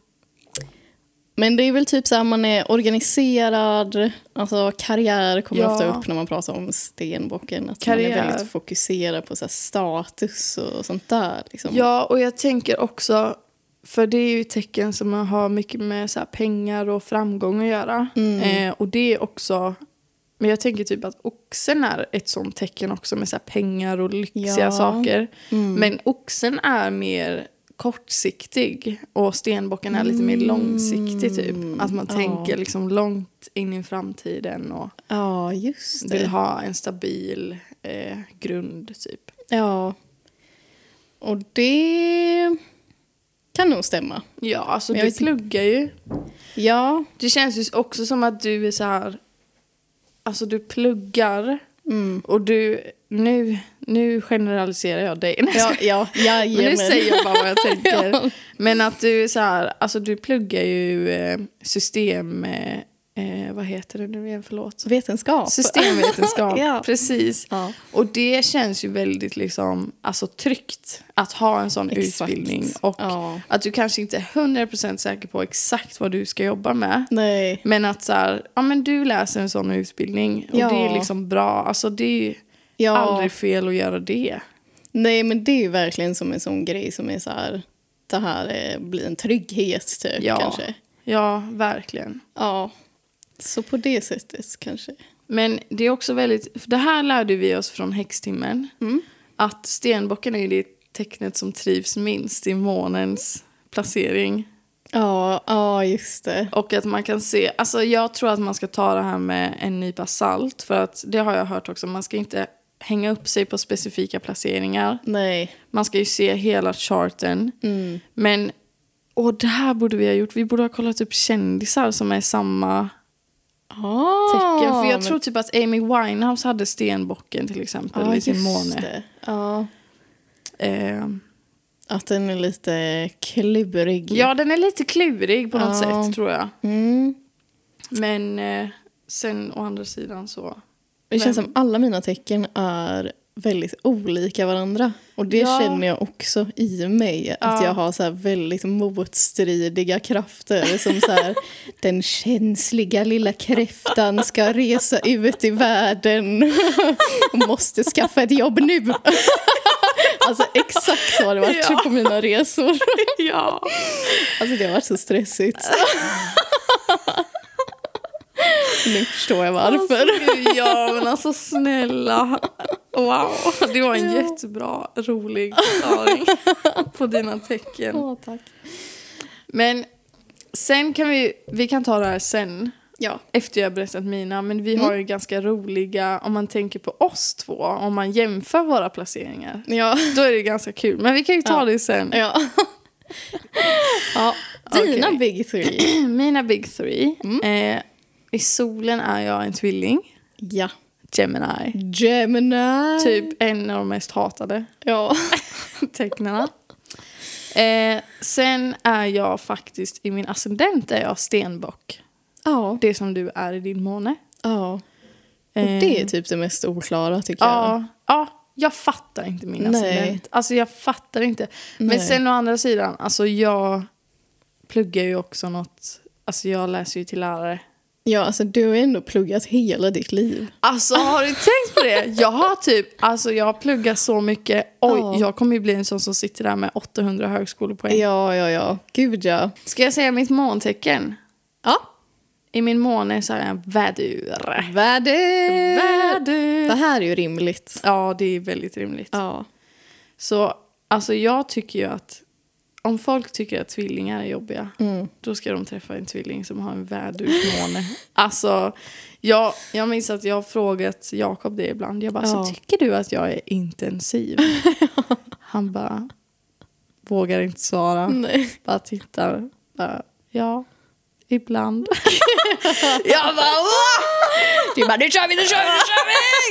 S1: Men det är väl typ så här man är organiserad, alltså karriär kommer
S2: Ja.
S1: ofta upp när man pratar om stenbocken. Att man
S2: Karriär.
S1: är väldigt fokuserad på så här status och sånt där. Liksom.
S2: Ja, och jag tänker också, för det är ju tecken som har mycket med så här pengar och framgång att göra.
S1: Mm.
S2: Eh, och det är också, men jag tänker typ att oxen är ett sånt tecken också med så här pengar och lyxiga
S1: Ja. Mm.
S2: saker. Men oxen är mer kortsiktig och stenbocken är lite mer långsiktig typ. Att
S1: Mm.
S2: man
S1: Ja.
S2: tänker liksom långt in i framtiden och
S1: ja, just
S2: vill
S1: det.
S2: ha en stabil eh, grund typ.
S1: Ja. Och det kan nog stämma.
S2: Ja, alltså
S1: Men jag
S2: du
S1: vet-
S2: pluggar ju.
S1: Ja.
S2: Det känns ju också som att du är så här... Alltså du pluggar
S1: Mm.
S2: och du... Nu, nu generaliserar jag dig. Nej,
S1: Ja, ja,
S2: men
S1: jajamän.
S2: nu säger jag bara vad jag tänker.
S1: Ja.
S2: Men att du är så här... Alltså du pluggar ju eh, system... Eh, eh, vad heter det nu igen? Förlåt.
S1: Vetenskap.
S2: Systemvetenskap,
S1: Ja.
S2: precis.
S1: Ja.
S2: Och det känns ju väldigt liksom, alltså, tryggt att ha en sån
S1: Exakt.
S2: utbildning. Och
S1: Ja.
S2: att du kanske inte är 100% säker på exakt vad du ska jobba med.
S1: Nej.
S2: Men att så här, ja men du läser en sån utbildning och
S1: Ja.
S2: det är liksom bra. Alltså det är ju
S1: Ja.
S2: aldrig fel att göra det.
S1: Nej, men det är ju verkligen som en sån grej som är så här... Det här eh, blir en trygghet, typ,
S2: Ja.
S1: kanske.
S2: Ja, verkligen.
S1: Ja. Så på det sättet, kanske.
S2: Men det är också väldigt, för det här lärde vi oss från häxtimmen.
S1: Mm.
S2: Att stenbocken är ju det tecknet som trivs minst i månens placering.
S1: Ja, ja just det.
S2: Och att man kan se, alltså jag tror att man ska ta det här med en nypa salt. För att det har jag hört också, man ska inte hänga upp sig på specifika placeringar.
S1: Nej.
S2: Man ska ju se hela charten.
S1: Mm.
S2: Men, och det här borde vi ha gjort. Vi borde ha kollat upp kändisar som är samma
S1: Ah,
S2: tecken. För jag
S1: men-
S2: tror typ att Amy Winehouse hade stenbocken till exempel
S1: Ja,
S2: i sin
S1: just
S2: måne.
S1: det. Ja.
S2: Eh,
S1: Att den är lite klurig.
S2: ja, den är lite klurig på något
S1: Ja.
S2: sätt tror jag.
S1: Mm.
S2: Men eh, sen å andra sidan så...
S1: Det känns
S2: Men-
S1: som alla mina tecken är väldigt olika varandra. Och det
S2: Ja.
S1: känner jag också i mig. Att
S2: Ja.
S1: jag har så här väldigt motstridiga krafter. Som så här, den känsliga lilla kräftan ska resa ut i världen. Och måste skaffa ett jobb nu. Alltså exakt så har det varit
S2: Ja.
S1: på mina resor.
S2: ja.
S1: Alltså det har varit så stressigt. Nu förstår jag varför.
S2: Alltså, gud, ja, men alltså snälla. Wow, det var en
S1: Ja.
S2: jättebra, rolig förklaring på dina tecken.
S1: Åh, tack.
S2: Men sen kan vi, vi kan ta det här sen.
S1: Ja.
S2: Efter jag har berättat mina, men vi
S1: Mm.
S2: har ju ganska roliga, om man tänker på oss två, om man jämför våra placeringar.
S1: Ja.
S2: Då är det ganska kul, men vi kan ju ta
S1: Ja.
S2: det sen.
S1: ja.
S2: Ja,
S1: Dina
S2: okej.
S1: big three.
S2: Mina big three.
S1: Mm.
S2: Eh, I solen är jag en tvilling,
S1: Ja.
S2: Gemini.
S1: Gemini.
S2: Typ en av de mest hatade
S1: Ja.
S2: tecknarna. Eh, sen är jag faktiskt, i min ascendent är jag stenbock.
S1: Ja.
S2: Det som du är i din måne.
S1: ja. Och
S2: Eh,
S1: det är typ det mest oklara tycker jag.
S2: ja, ja, jag fattar inte min
S1: Nej.
S2: ascendent. Alltså jag fattar inte. Men
S1: Nej.
S2: sen å andra sidan, alltså jag pluggar ju också något. Alltså jag läser ju till lärare.
S1: Ja, alltså du har ändå pluggat hela ditt liv.
S2: Alltså har du tänkt på det? Jag har typ, alltså jag har pluggat så mycket. Oj,
S1: Ja.
S2: jag kommer ju bli en sån som sitter där med 800 högskolepoäng.
S1: Ja, ja, ja. Gud ja.
S2: Ska jag säga mitt måntecken?
S1: Ja.
S2: I min måne så är jag en vädur.
S1: Väder. Det
S2: Vädur.
S1: här är ju rimligt.
S2: Ja, det är väldigt rimligt.
S1: Ja.
S2: Så alltså jag tycker ju att om folk tycker att tvillingar är jobbiga då ska de träffa en tvilling som har en värdutmåne. alltså, jag, jag minns att jag har frågat Jakob det ibland. Jag bara,
S1: Ja.
S2: så tycker du att jag är intensiv? Han bara, vågar inte svara.
S1: Nej.
S2: Bara tittar. Bara, ja, ibland. jag bara,
S1: Du bara, nu kör vi, nu kör vi,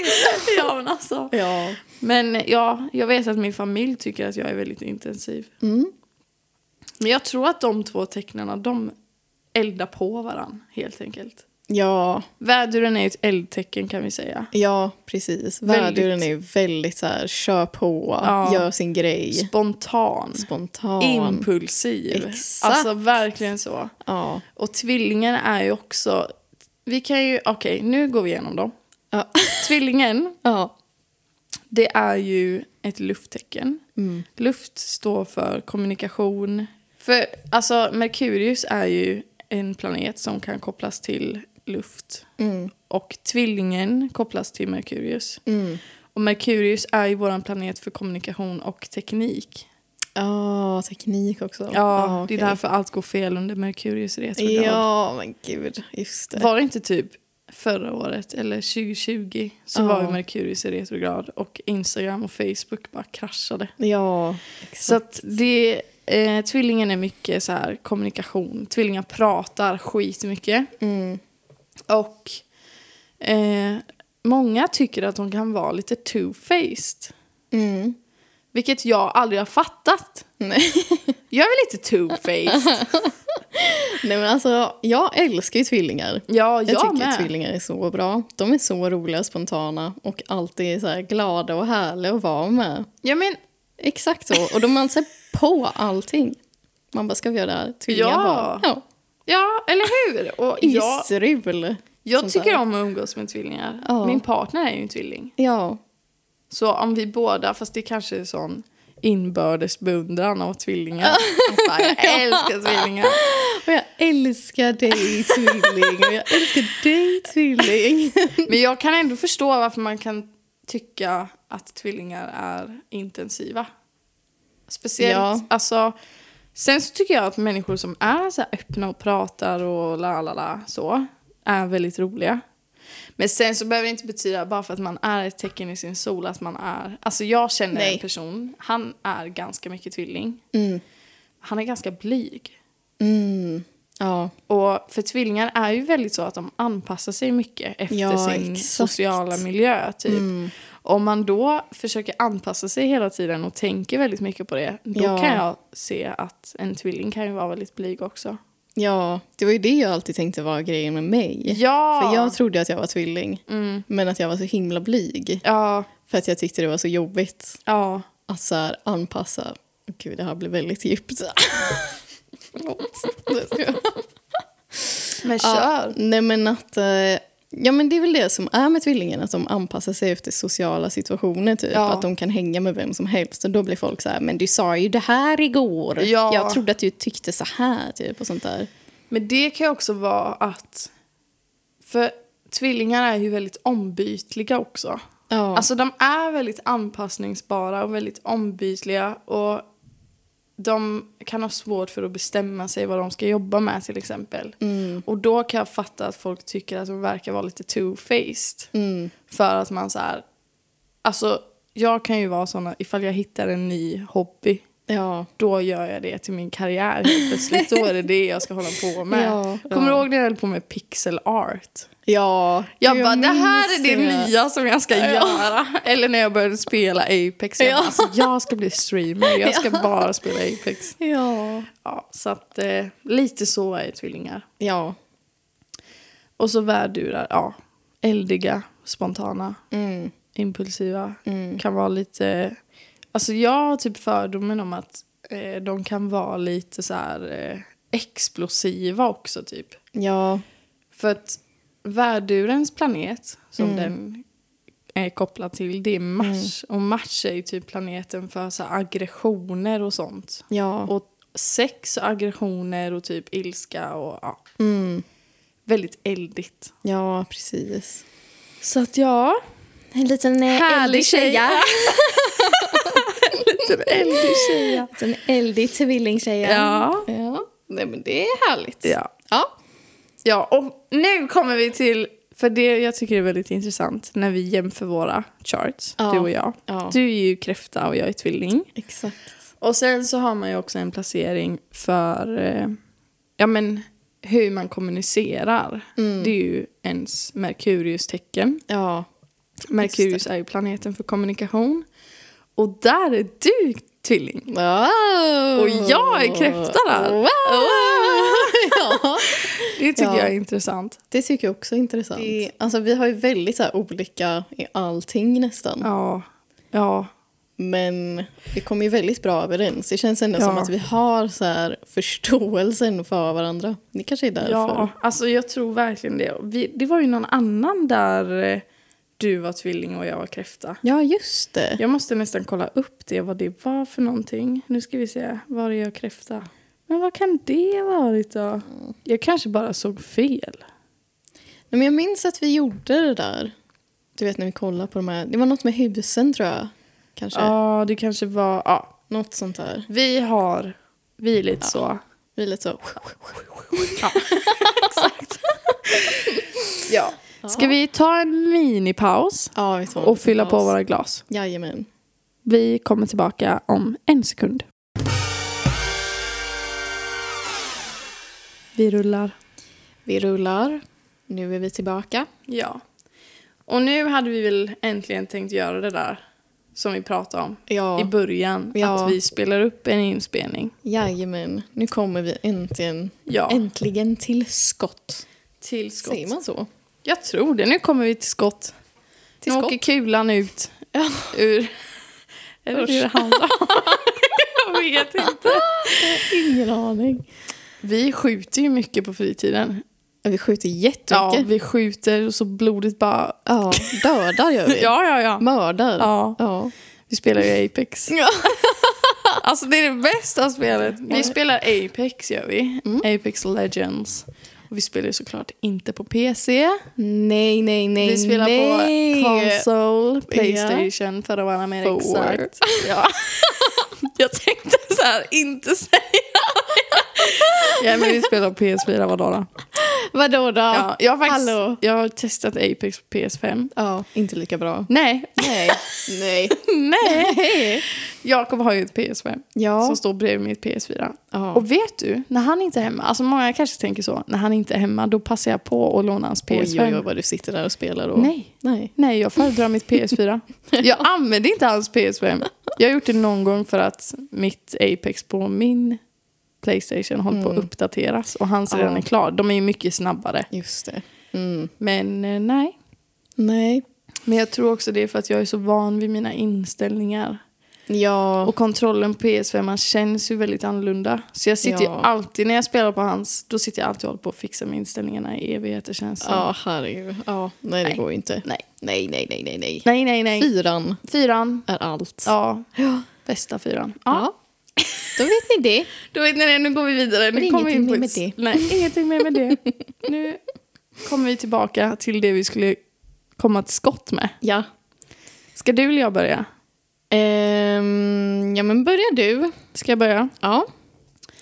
S1: nu kör
S2: ja, men alltså.
S1: vi! Ja.
S2: Men ja, jag vet att min familj tycker att jag är väldigt intensiv.
S1: Mm.
S2: Men jag tror att de två tecknarna, de eldar på varann helt enkelt.
S1: Ja,
S2: Väduren är ju ett eldtecken kan vi säga.
S1: ja, precis.
S2: Väldigt.
S1: Värduren är ju väldigt så här, kör på,
S2: Ja.
S1: gör sin grej.
S2: Spontan.
S1: Spontan.
S2: Impulsiv.
S1: Exakt.
S2: Alltså verkligen så.
S1: Ja.
S2: Och tvillingen är ju också... Vi kan ju... Okej, nu går vi igenom dem.
S1: Ja.
S2: Tvillingen,
S1: ja.
S2: det är ju ett lufttecken.
S1: Mm.
S2: Luft står för kommunikation. För alltså Merkurius är ju en planet som kan kopplas till luft.
S1: Mm.
S2: Och tvillingen kopplas till Merkurius.
S1: Mm.
S2: Och Merkurius är ju vår planet för kommunikation och teknik.
S1: Ja, teknik också.
S2: Ja,
S1: Ja, ah,
S2: det
S1: okej.
S2: är därför allt går fel under Merkurius retrograd.
S1: Ja, men gud. Just det.
S2: Var det inte typ förra året eller 2020 så
S1: Ja.
S2: var ju Merkurius i retrograd och Instagram och Facebook bara kraschade.
S1: Ja, exakt.
S2: Så att det, eh, tvillingen är mycket så här kommunikation. Tvillingar pratar skitmycket.
S1: mm.
S2: Och eh, många tycker att de kan vara lite two-faced.
S1: Mm.
S2: Vilket jag aldrig har fattat.
S1: Nej.
S2: Jag är väl lite two-faced?
S1: Nej, men alltså, jag älskar ju tvillingar.
S2: Ja, jag,
S1: Jag tycker
S2: med.
S1: tvillingar är så bra. De är så roliga och spontana och alltid så här glada och härliga att vara med.
S2: Ja, men
S1: Exakt så. Och de anser på allting. Man bara, ska vi göra det här? Tvillingar
S2: Ja.
S1: bara, ja.
S2: Ja, eller hur? Och jag,
S1: Isrul.
S2: jag
S1: sånt
S2: tycker
S1: där.
S2: om att umgås med tvillingar.
S1: Ja.
S2: Min partner är ju en tvilling.
S1: Ja.
S2: Så om vi båda, fast det kanske är sån inbördes beundran av tvillingar. Fan, jag älskar tvillingar.
S1: Och jag älskar dig, tvilling. Och jag älskar dig, tvilling.
S2: Men jag kan ändå förstå varför man kan tycka att tvillingar är intensiva. Speciellt,
S1: Ja.
S2: alltså. Sen så tycker jag att människor som är så här öppna och pratar och la la la så är väldigt roliga. Men sen så behöver det inte betyda bara för att man är ett tecken i sin sol att man är. Alltså jag känner en
S1: Nej.
S2: person, han är ganska mycket tvilling.
S1: Mm.
S2: Han är ganska blyg.
S1: Mm. Ja.
S2: Och för tvillingar är ju väldigt så att de anpassar sig mycket efter
S1: Ja,
S2: sin
S1: exakt.
S2: sociala miljö. Typ.
S1: Mm.
S2: Om man då försöker anpassa sig hela tiden och tänker väldigt mycket på det, då
S1: Ja.
S2: kan jag se att en tvilling kan ju vara väldigt blyg också.
S1: Ja, det var ju det jag alltid tänkte var grejen med mig.
S2: Ja!
S1: För jag trodde att jag var tvilling,
S2: mm.
S1: men att jag var så himla blyg.
S2: Ja,
S1: För att jag tyckte det var så jobbigt
S2: ja.
S1: att så här anpassa... Gud, det här blir väldigt djupt. Förlåt. Det ska jag-
S2: Men
S1: Ja, nej men att... eh, Ja men det är väl det som är med tvillingen, att de anpassar sig efter sociala situationer typ.
S2: Ja.
S1: Att de kan hänga med vem som helst och då blir folk så här, men du sa ju det här igår.
S2: Ja.
S1: Jag trodde att du tyckte så här typ och sånt där.
S2: Men det kan ju också vara att... För tvillingar är ju väldigt ombytliga också.
S1: Ja.
S2: Alltså de är väldigt anpassningsbara och väldigt ombytliga och de kan ha svårt för att bestämma sig vad de ska jobba med till exempel.
S1: mm,
S2: Och då kan jag fatta att folk tycker att de verkar vara lite two-faced.
S1: mm,
S2: För att man så här, alltså jag kan ju vara såna, ifall jag hittar en ny hobby
S1: ja.
S2: då gör jag det till min karriär helt plötsligt. Då är det det jag ska hålla på med.
S1: Ja,
S2: Kommer
S1: ja.
S2: du ihåg när jag höll på med pixel art?
S1: Ja.
S2: Jag bara, det här är det
S1: minns
S2: nya som jag ska
S1: Ja.
S2: göra. Eller när jag började spela Apex. Jag,
S1: Ja.
S2: bara, alltså, jag ska bli streamer, jag ska
S1: Ja.
S2: bara spela Apex.
S1: Ja.
S2: Ja, så att eh, lite så är tvillingar.
S1: Ja.
S2: Och så värdurar, ja. Eldiga, spontana,
S1: Mm,
S2: impulsiva.
S1: mm.
S2: Kan vara lite... Alltså jag har typ fördomen om att eh, de kan vara lite så här eh, explosiva också typ.
S1: Ja.
S2: För att värdurens planet, som
S1: Mm.
S2: den är kopplad till, det är Mars. Och Mars är ju typ planeten för så här aggressioner och sånt.
S1: Ja.
S2: Och sex och aggressioner och typ ilska och ja,
S1: Mm.
S2: väldigt eldigt.
S1: Ja, precis.
S2: Så att ja,
S1: En liten eh,
S2: Härlig
S1: eldig
S2: tjej.
S1: tjeja.
S2: lite eldig tjej.
S1: En eldig tvillingtjeja.
S2: Ja.
S1: ja. Nej, men det är härligt.
S2: Ja.
S1: Ja.
S2: ja, och nu kommer vi till, för det jag tycker är väldigt intressant när vi jämför våra charts,
S1: Ja.
S2: du och jag.
S1: Ja,
S2: Du är ju kräfta och jag är tvilling.
S1: exakt.
S2: Och sen så har man ju också en placering för eh, ja, men, hur man kommunicerar.
S1: Mm.
S2: Det är ju ens Merkurius tecken.
S1: Ja.
S2: Merkurius är ju planeten för kommunikation. Och där är du tvilling.
S1: Wow.
S2: Och jag är kräfta där.
S1: Wow. ja.
S2: Det tycker
S1: Ja.
S2: jag är intressant.
S1: Det tycker jag också är intressant.
S2: Det-
S1: Alltså, vi har ju väldigt så här, olika i allting nästan.
S2: Ja, ja,
S1: Men vi kommer ju väldigt bra överens. Det känns ändå
S2: Ja.
S1: som att vi har så här, förståelsen för varandra. Det kanske är därför.
S2: ja. Alltså jag tror verkligen det. Vi, det var ju någon annan där eh, du var tvilling och jag var kräfta.
S1: ja just det.
S2: Jag måste nästan kolla upp det, vad det var för någonting. Nu ska vi se, var är jag kräfta? Men vad kan det ha varit då? Jag kanske bara såg fel.
S1: Nej, men jag minns att vi gjorde det där. Du vet när vi kollade på de här. Det var något med husen tror jag. Kanske.
S2: Ja, det kanske var... Ja,
S1: Något sånt där.
S2: vi har... Vi är lite så.
S1: Vi är lite så.
S2: Ja, exakt. ja. Ska vi ta en minipaus
S1: Ja, vi tar en
S2: och fylla på
S1: paus.
S2: våra glas?
S1: Jajamän.
S2: Vi kommer tillbaka om en sekund. Vi rullar.
S1: Vi rullar. Nu är vi tillbaka.
S2: Ja. Och nu hade vi väl äntligen tänkt göra det där som vi pratade om i
S1: Ja,
S2: början.
S1: Ja.
S2: Att vi spelar upp en inspelning.
S1: jajamän. Nu kommer vi äntligen,
S2: Ja,
S1: äntligen till skott.
S2: till skott.
S1: Säger man så?
S2: Jag tror det. Nu kommer vi till skott.
S1: Till
S2: nu
S1: skott.
S2: åker kulan ut ur... Eller hur det handlar om. Jag vet inte.
S1: Ingen aning.
S2: Vi skjuter ju mycket på fritiden.
S1: Ja, Vi skjuter
S2: Ja,
S1: jättemycket.
S2: vi skjuter och så blodet bara...
S1: Ja, dödar gör vi.
S2: Ja, ja, ja.
S1: Mördar.
S2: ja.
S1: Ja.
S2: Vi spelar ju Apex. Alltså det är det bästa spelet. Vi spelar Apex gör vi. Apex Legends. Och vi spelar ju såklart inte på PC.
S1: Nej, nej, nej,
S2: vi spelar
S1: nej.
S2: på konsol, Playstation för att vara mer
S1: Får.
S2: exakt. Ja. Jag tänkte så här, inte säga det. Ja men vi spelar på PS4 vadå då?
S1: Vadå då?
S2: Ja, jag, har faktiskt,
S1: Hallå.
S2: jag har testat Apex på PS5.
S1: Ja, inte lika bra.
S2: Nej,
S1: Nej, nej.
S2: nej. Jakob har ju ett PS5
S1: Ja.
S2: som står bredvid mitt PS4.
S1: ja.
S2: Och vet du, när han inte är hemma, alltså många kanske tänker så, när han inte är hemma då passar jag på och lånar hans PS5.
S1: Oj, oj, oj, vad du sitter där och spelar då.
S2: Nej,
S1: Nej.
S2: nej, jag föredrar mitt PS4. Jag använder inte hans PS5. Jag har gjort det någon gång för att mitt Apex på min Playstation håller på att uppdateras och hans redan är klar. De är ju mycket snabbare.
S1: Just det. Mm.
S2: Men eh, nej.
S1: Nej.
S2: Men jag tror också det är för att jag är så van vid mina inställningar.
S1: Ja.
S2: Och kontrollen på PS5 man känns ju väldigt annorlunda. Så jag sitter ju
S1: Ja.
S2: alltid, när jag spelar på hans, då sitter jag alltid och håller på att fixa med inställningarna i evigheter känns det som.
S1: Ja, herregud. Ja, nej, det
S2: Nej.
S1: går ju inte.
S2: Nej.
S1: Nej, nej, nej, nej, nej.
S2: Nej, nej, nej.
S1: Fyran
S2: Fyran.
S1: är allt.
S2: Ja. Bästa fyran. Ja.
S1: Ja. Då vet ni det.
S2: Då vet ni det, nu går vi vidare.
S1: Det
S2: Nu
S1: är
S2: kommer vi in
S1: ingenting
S2: på
S1: mer
S2: ett-
S1: med det.
S2: Nej, ingenting mer med det. Nu kommer vi tillbaka till det vi skulle komma till skott med.
S1: Ja.
S2: Ska du eller jag börja?
S1: Ehm, ja, men börjar du.
S2: Ska jag börja?
S1: Ja.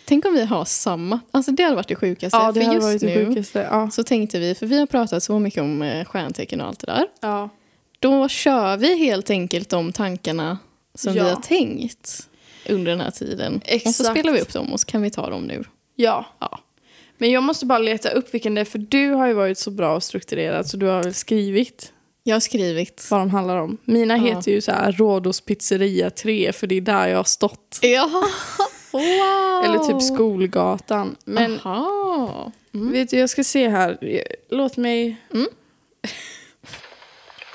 S1: Tänk om vi har samma. Alltså det hade varit det sjukaste. för
S2: har
S1: just nu
S2: sjukaste. Ja.
S1: så tänkte vi, för vi har pratat så mycket om eh, stjärntecken och allt det där.
S2: ja.
S1: Då kör vi helt enkelt de tankarna som
S2: Ja.
S1: vi har tänkt under den här tiden. Och så
S2: Exakt.
S1: spelar vi upp dem och så kan vi ta dem nu.
S2: Ja.
S1: Ja.
S2: Men jag måste bara leta upp vilken det är, för du har ju varit så bra och strukturerad så du har väl skrivit
S1: Jag har skrivit.
S2: vad de handlar om. Mina
S1: Ja.
S2: heter ju så här Rhodos pizzeria 3 för det är där jag har stått.
S1: Ja. Wow.
S2: Eller typ Skolgatan. Men
S1: Aha.
S2: vet du, jag ska se här. Låt mig...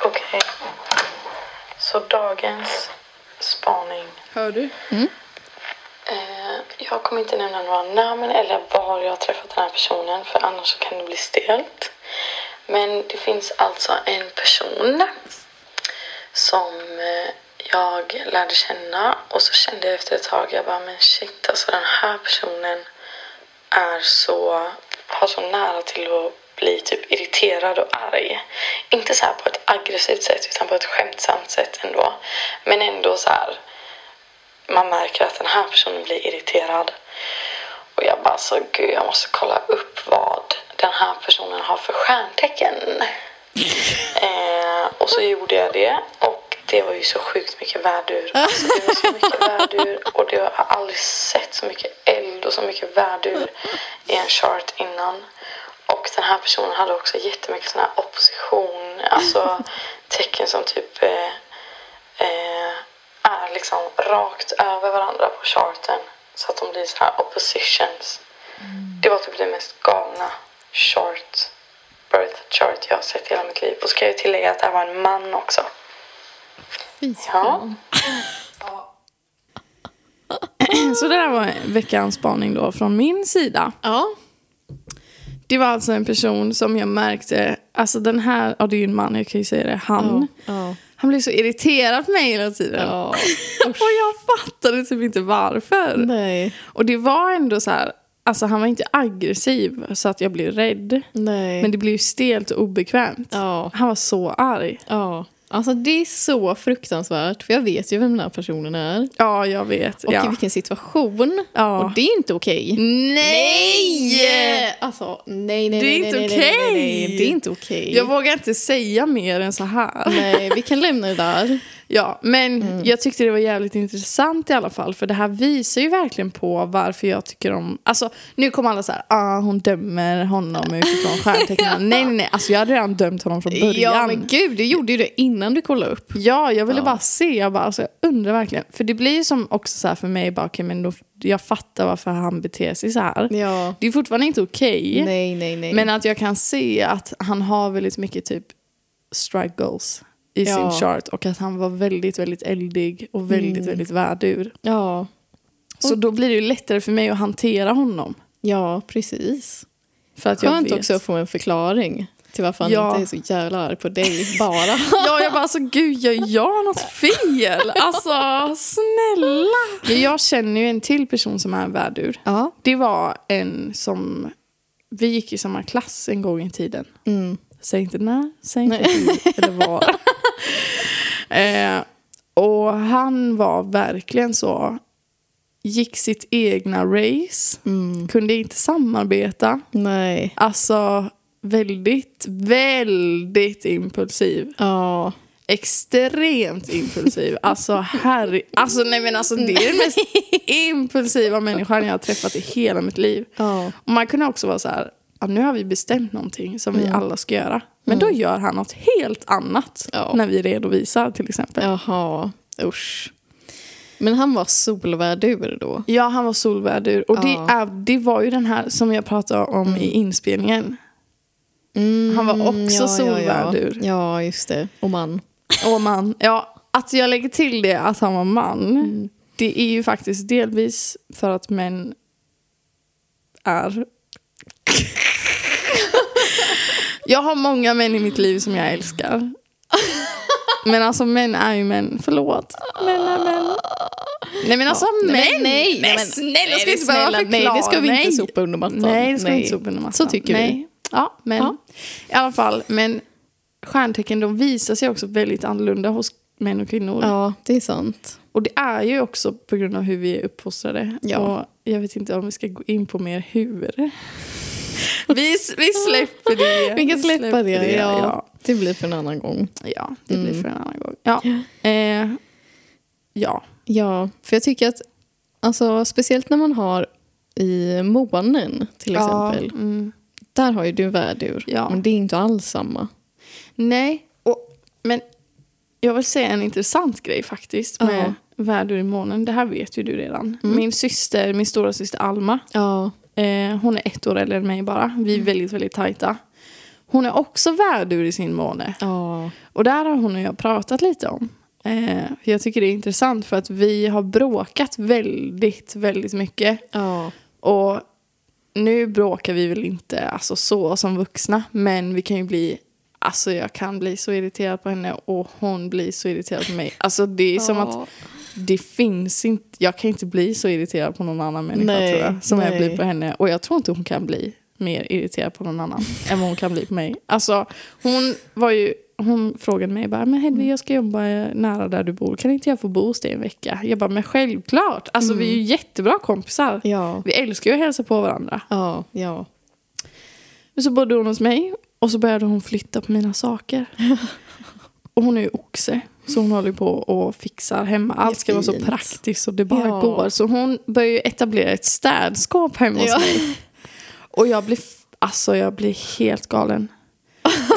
S3: Okej. Så dagens spaning.
S2: Hör du?
S3: Eh, jag kommer inte nämna några namn eller var jag har träffat den här personen för annars så kan det bli stelt. Men det finns alltså en person som eh, jag lärde känna och så kände jag efter ett tag, jag bara men shit alltså den här personen är så, har så nära till att bli typ irriterad och arg. Inte så här på ett aggressivt sätt utan på ett skämtsamt sätt ändå. Men ändå så här man märker att den här personen blir irriterad. Och jag bara så gud jag måste kolla upp vad den här personen har för stjärntecken. eh, och så gjorde jag det och det var ju så sjukt mycket värdur. Alltså, det var så mycket värdur och det har jag aldrig sett så mycket eld och så mycket värdur i en chart innan. Och den här personen hade också jättemycket sån här opposition, alltså tecken som typ eh, eh, är liksom rakt över varandra på charten. Så att de blir så här oppositions. Det var typ det mest galna chart, birth chart jag har sett i hela mitt liv. Och ska jag tillägga att det här var en man också.
S1: Fy
S3: Ja.
S1: fan.
S2: Så det där var veckans spaning då från min sida.
S1: Ja.
S2: Det var alltså en person som jag märkte, alltså den här, ja det är ju en man, jag kan ju säga det, han.
S1: Ja.
S2: Han blev så irriterad på mig hela tiden.
S1: Ja.
S2: Och jag fattade typ inte varför.
S1: Nej.
S2: Och det var ändå så här, alltså han var inte aggressiv så att jag blev rädd.
S1: Nej.
S2: Men det blev ju stelt och obekvämt.
S1: Ja.
S2: Han var så arg.
S1: Ja. Alltså det är så fruktansvärt för jag vet ju vem den här personen är.
S2: Ja, jag vet.
S1: Och i
S2: ja.
S1: vilken situation.
S2: Ja.
S1: Och det är inte okej.
S2: Nej!
S1: Alltså nej, nej, nej.
S2: Det är
S1: nej,
S2: inte
S1: nej, nej, nej,
S2: okej.
S1: nej. Det är inte okej.
S2: Jag vågar inte säga mer än så här.
S1: Nej, Mm. vi kan lämna det där.
S2: Ja, men jag tyckte det var jävligt intressant i alla fall. För det här visar ju verkligen på varför jag tycker om... Alltså, nu kommer alla så här, ah, hon dömer honom utifrån stjärntecknen. nej, nej, nej. Alltså, jag hade redan dömt honom från början.
S1: Ja, men gud, du gjorde ju det innan du kollade upp.
S2: Ja, jag ville bara se. Jag, bara, alltså, jag undrar verkligen. För det blir ju som också så här för mig, bara, okay, men då, jag fattar varför han beter sig så här.
S1: Ja.
S2: Det är fortfarande inte okej.
S1: Nej, nej, nej.
S2: Men att jag kan se att han har väldigt mycket typ struggles i
S1: Ja. Mm.
S2: sin chart och att han var väldigt, väldigt eldig och väldigt, väldigt värdur.
S1: Ja.
S2: Så då blir det ju lättare för mig att hantera honom.
S1: Ja, precis.
S2: För att jag
S1: Skönt
S2: vet.
S1: också att få en förklaring till varför han
S2: Ja.
S1: inte är så jävla arg på dig bara.
S2: Ja, jag bara alltså gud, gör jag något fel? Alltså snälla! Men jag känner ju en till person som är en värdur.
S1: ja.
S2: Det var en som, vi gick i samma klass en gång i tiden.
S1: Mm.
S2: Säg inte när, säg inte hur eller var. eh, och han var verkligen så, gick sitt egna race, kunde inte samarbeta.
S1: mm. Nej.
S2: Alltså väldigt, väldigt impulsiv.
S1: Ja.
S2: Extremt impulsiv. Alltså herre, alltså nej men alltså det är den mest impulsiva människan jag har träffat i hela mitt liv.
S1: Ja.
S2: Och man kunde också vara så här, ja, nu har vi bestämt någonting som vi alla ska göra. Men då gör han något helt annat
S1: Ja.
S2: när vi redovisar till exempel.
S1: Jaha. Usch. Men han var solvärdur då.
S2: Ja, han var solvärdur. Och
S1: Ja.
S2: det, är, det var ju den här som jag pratade om i inspelningen.
S1: Mm,
S2: Han var också solvärdur.
S1: Ja, ja, just det. Och man. Mm.
S2: Och man. Ja, att jag lägger till det att han var man. Det är ju faktiskt delvis för att män är... jag har många män i mitt liv som jag älskar. Men alltså män är ju män. Förlåt. Män är män. Nej men alltså män!
S1: Nej, men nej.
S2: Men
S1: Nej, men-
S2: snälla,
S1: nej,
S2: ska vi inte
S1: snälla,
S2: behöva
S1: Nej,
S2: förklara?
S1: det ska vi inte
S2: Nej.
S1: sopa under mattan.
S2: Nej, det ska vi inte sopa under mattan.
S1: Så tycker
S2: Nej.
S1: vi.
S2: Ja, men
S1: Ja.
S2: i alla fall. Men stjärntecken de visar sig också väldigt annorlunda hos män och kvinnor.
S1: Ja, det är sant.
S2: Och det är ju också på grund av hur vi är uppfostrade.
S1: Ja.
S2: Och jag vet inte om vi ska gå in på mer hur. Vi, vi släpper det.
S1: Vi kan släppa
S2: släpper
S1: det. Ja. Mm.
S2: Ja,
S1: Det blir för en annan gång.
S2: ja det blir för en annan gång. Ja. Eh, ja.
S1: Ja, för jag tycker att alltså, speciellt när man har i månen till exempel.
S2: Ja, mm.
S1: Där har ju du värdur.
S2: Ja.
S1: Men det är inte alls samma.
S2: Nej, och, men jag vill säga en intressant grej faktiskt med
S1: Ja.
S2: världur i månen. Det här vet ju du redan. Min syster, min stora syster Alma,
S1: Ja.
S2: eh, hon är ett år äldre än mig bara. Vi är väldigt, väldigt tajta. Hon är också värdur i sin måne.
S1: Ja.
S2: Och där har hon och jag pratat lite om. Eh, för jag tycker det är intressant för att vi har bråkat väldigt, väldigt mycket.
S1: Ja.
S2: Och nu bråkar vi väl inte alltså, så som vuxna, men vi kan ju bli... Alltså jag kan bli så irriterad på henne och hon blir så irriterad på mig. Alltså det är som
S1: Ja.
S2: att det finns inte... Jag kan inte bli så irriterad på någon annan människa
S1: Nej,
S2: tror jag, som jag
S1: nej.
S2: blir på henne. Och jag tror inte hon kan bli mer irriterad på någon annan än vad hon kan bli på mig. Alltså hon var ju... Hon frågade mig bara, men
S1: Mm.
S2: Hedvig jag ska jobba eh, nära där du bor. Kan inte jag få bo hos dig en vecka? Jag bara, men självklart. Alltså vi är
S1: Mm.
S2: ju jättebra kompisar.
S1: Ja.
S2: Vi älskar ju att hälsa på varandra.
S1: Ja. ja.
S2: Men så bodde hon hos mig och så började hon flytta på mina saker. Och hon är ju oxe, så hon håller ju på och fixar hemma. Allt ska vara så
S1: Fint.
S2: praktiskt och det bara
S1: Ja.
S2: går. Så hon börjar ju etablera ett städskåp hemma hos
S1: Ja.
S2: mig. Och jag blir, f- alltså jag blir helt galen.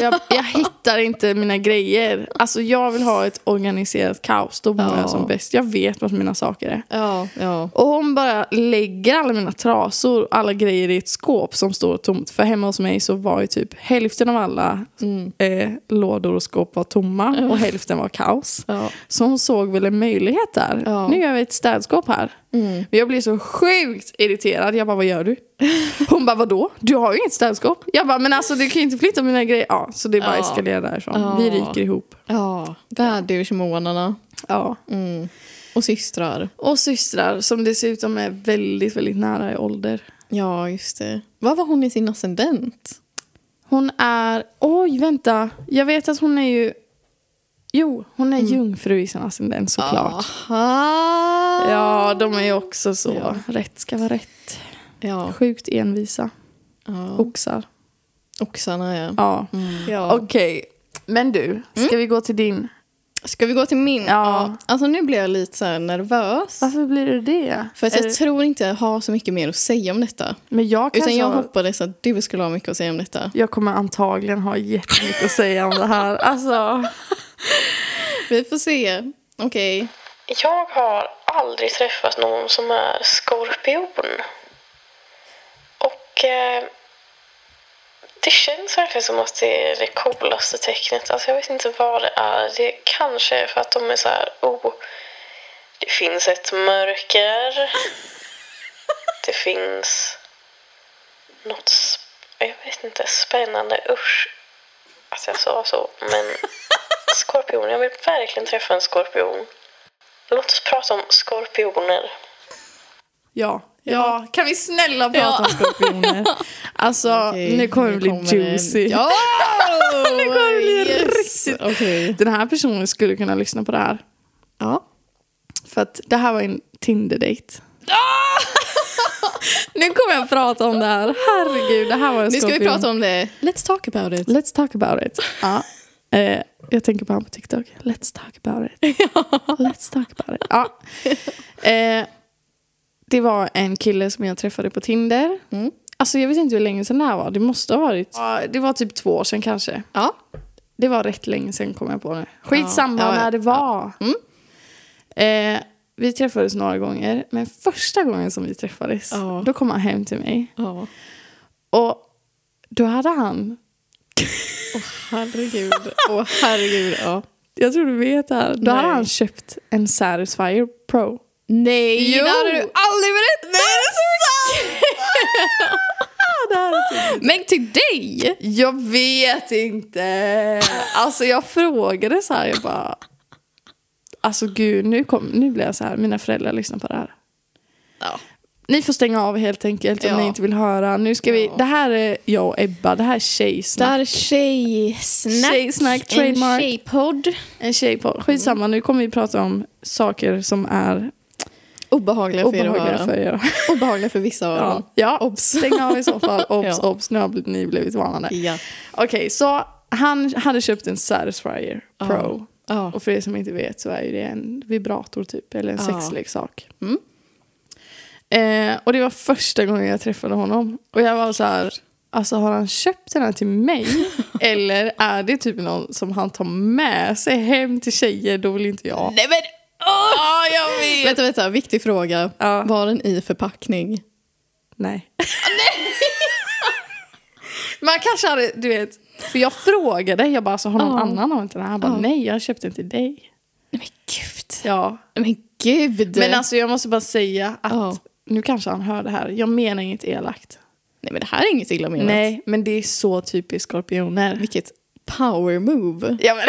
S2: Jag, jag hittar inte mina grejer. Alltså jag vill ha ett organiserat kaos. Då mår
S1: Ja.
S2: jag som bäst. Jag vet vad mina saker är.
S1: Ja. Ja.
S2: Och hon bara lägger alla mina trasor och alla grejer i ett skåp som står tomt. För hemma hos mig så var ju typ hälften av alla eh, lådor och skåp var tomma och hälften var kaos.
S1: Ja.
S2: Så hon såg väl en möjlighet där.
S1: Ja.
S2: Nu gör vi ett städskåp här.
S1: Mm.
S2: Men jag blev så sjukt irriterad. Jag bara, vad gör du? Hon bara, vadå? Du har ju inget städskåp. Jag bara, men alltså du kan ju inte flytta mina grejer. Ja, så det bara
S1: Ja.
S2: eskalerar därifrån.
S1: Ja.
S2: Vi ryker ihop.
S1: ja. Värdursmånarna.
S2: Ja.
S1: Mm. Och systrar.
S2: Och systrar som dessutom är väldigt, väldigt nära i ålder.
S1: Ja, just det. Vad var hon i sin ascendent?
S2: Hon är... Oj, vänta. Jag vet att hon är ju... Jo, hon är jungfru i sin ascendent såklart. Ah.
S1: Aha!
S2: Ja, de är ju också så.
S1: Ja.
S2: Rätt ska vara rätt.
S1: Ja.
S2: Sjukt envisa.
S1: ja.
S2: Oxar.
S1: Oxarna, ja.
S2: Ja.
S1: ja.
S2: Mm. Okej. Men du, ska vi gå till din?
S1: Ska vi gå till min?
S2: Ja.
S1: Alltså nu blir jag lite så här nervös.
S2: Varför Eh. blir du det?
S1: För att
S2: Är
S1: jag
S2: det-
S1: tror inte jag har så mycket mer att säga om detta.
S2: Men jag kanske
S1: Utan jag
S2: har-
S1: hoppades att du skulle ha mycket att säga om detta.
S2: Jag kommer antagligen ha jättemycket att säga om det här. Alltså...
S1: Vi får se. Okej.
S3: Jag har aldrig träffat någon som är skorpion. Och eh, det känns verkligen som att det är det coolaste tecknet. Alltså jag vet inte vad det är. Det kanske är för att de är så här, oh, det finns ett mörker. Det finns något, sp- jag vet inte, spännande. Usch att jag sa så. Men skorpion, jag vill verkligen träffa en skorpion. Låt oss prata om skorpioner.
S2: Ja. Ja, kan vi snälla prata om skorpioner? Alltså,
S1: Okej,
S2: nu kommer det bli
S1: det-
S2: juicy.
S1: Ja!
S2: Nu kommer det bli riktigt-
S1: Okej.
S2: Den här personen skulle kunna lyssna på det här.
S1: Ja.
S2: För att det här var en Tinder-date. Ah! nu kommer jag prata om det här. Herregud, det här var en
S1: Nu ska vi
S2: skorpion.
S1: prata om det. Let's talk about it.
S2: Let's talk about it. Ja. Eh, jag tänker på han på TikTok. Let's talk about it. Let's talk about it. Ja. Eh, det var en kille som jag träffade på Tinder.
S1: Mm.
S2: Alltså jag vet inte hur länge sedan det här var. Det måste ha varit... Ja, det var typ två år sedan kanske.
S1: Ja.
S2: Det var rätt länge sedan kom jag på nu. Skitsamma
S1: Ja, Mm. ja, ja.
S2: när det var. Eh, Vi träffades några gånger, men första gången som vi träffades,
S1: Ja.
S2: då kom han hem till mig.
S1: Ja.
S2: Och då hade han,
S1: Herregud. Åh, herregud. Ja.
S2: jag tror du vet det här, då hade
S1: Nej.
S2: han köpt en Satisfyer Pro.
S1: Nej,
S2: Jo.
S1: det hade du aldrig berättat! Nej,
S2: det här är typ
S1: Men till dig!
S2: Jag vet inte. Alltså jag frågade så här, jag bara... Alltså gud, nu, kom, nu blir jag så här, mina föräldrar lyssnar på det här.
S1: Ja.
S2: Ni får stänga av helt enkelt om
S1: Ja.
S2: ni inte vill höra. Nu ska vi,
S1: Ja.
S2: det här är jag och Ebba, det här är
S1: Det
S2: tjejsnack.
S1: här är tjejsnack.
S2: Tjejsnack, trademark.
S1: En tjejpodd.
S2: En tjej på, skitsamma, nu kommer vi prata om saker som är
S1: Obehagliga för er att
S2: obehagliga
S1: höra.
S2: för er.
S1: Obehagliga för vissa av
S2: Ja,
S1: dem.
S2: ja obs. Stäng av i så fall, obs,
S1: Ja.
S2: obs. Nu har bl- ni blivit varnade.
S1: Ja.
S2: Okej, så han hade köpt en Satisfyer Pro.
S1: Ja.
S2: Och för er som inte vet så är ju det en vibrator typ, eller en
S1: Ja.
S2: sexleksak.
S1: Mm.
S2: Eh, och det var första gången jag träffade honom. Och jag var så här, alltså har han köpt den här till mig? eller är det typ någon som han tar med sig hem till tjejer? Då vill inte jag.
S1: Nej men
S2: Ja, jag vet!
S1: Vänta, vänta. Viktig fråga.
S2: Ja.
S1: Var den i förpackning?
S2: Nej. Man kanske hade, du vet, för jag frågade, jag bara, alltså, har någon
S1: Ja.
S2: annan av inte den här? Han bara,
S1: Ja.
S2: nej, jag har köpt den till dig.
S1: Nej men gud.
S2: Ja.
S1: Nej men gud.
S2: Men alltså jag måste bara säga att
S1: Ja.
S2: nu kanske han hör det här. Jag menar inget elakt.
S1: Nej men det här är inget illa menat.
S2: Nej, men det är så typiskt skorpioner.
S1: Vilket power move.
S2: Ja, men,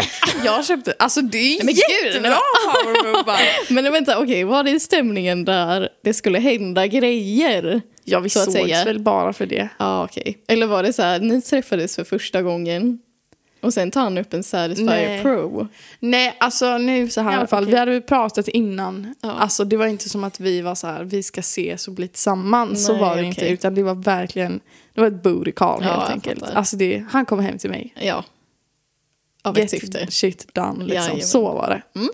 S2: jag köpte, alltså det är
S1: Men gud,
S2: jättebra powermovar.
S1: Men vänta, okej, var det stämningen där det skulle hända grejer?
S2: Ja, vi
S1: Så att
S2: sågs
S1: säga.
S2: väl bara för det.
S1: Ja, okej. Eller var det så här, ni träffades för första gången och sen tar han upp en Satisfyer
S2: Nej.
S1: Pro?
S2: Nej, alltså nu så här
S1: Ja,
S2: i alla fall.
S1: okej.
S2: Vi hade väl pratat innan.
S1: Ja.
S2: Alltså det var inte som att vi var så här, vi ska ses och bli tillsammans. så
S1: Nej,
S2: var det
S1: okej.
S2: inte. Utan det var verkligen, det var ett booty call
S1: Ja,
S2: helt
S1: jag
S2: enkelt.
S1: fattar.
S2: Alltså det, han kom hem till mig.
S1: Ja. Av ett syfte.
S2: Get shit done liksom.
S1: Jajamän.
S2: Så var det.
S1: Mm.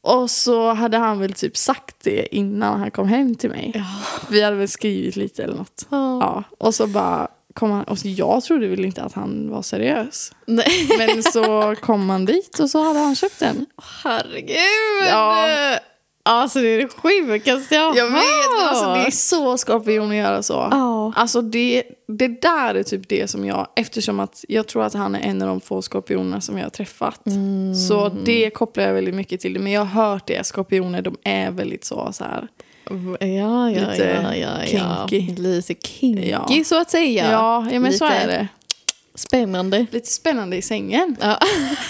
S2: Och så hade han väl typ sagt det innan han kom hem till mig.
S1: Ja.
S2: Vi hade väl skrivit lite eller något.
S1: Ja.
S2: Ja. Och så bara kom han. Och så jag trodde väl inte att han var seriös.
S1: Nej.
S2: Men så kom han dit och så hade han köpt den.
S1: Herregud!
S2: Ja.
S1: Alltså det är det sjukaste jag,
S2: Jag vet, men
S1: hört.
S2: alltså, det är så skorpion att göra så.
S1: Ja.
S2: Alltså det, det där är typ det som jag, eftersom att jag tror att han är en av de få skorpionerna som jag har träffat. Så
S1: Mm.
S2: det kopplar jag väldigt mycket till det. Men jag har hört det, skorpioner de är väldigt så, så här.
S1: Ja, ja,
S2: Lite
S1: ja, ja, ja.
S2: kinky.
S1: Lite kinky,
S2: Ja.
S1: så att säga.
S2: ja, ja men så
S1: Lite
S2: är det.
S1: Spännande.
S2: Lite spännande i sängen.
S1: Ja.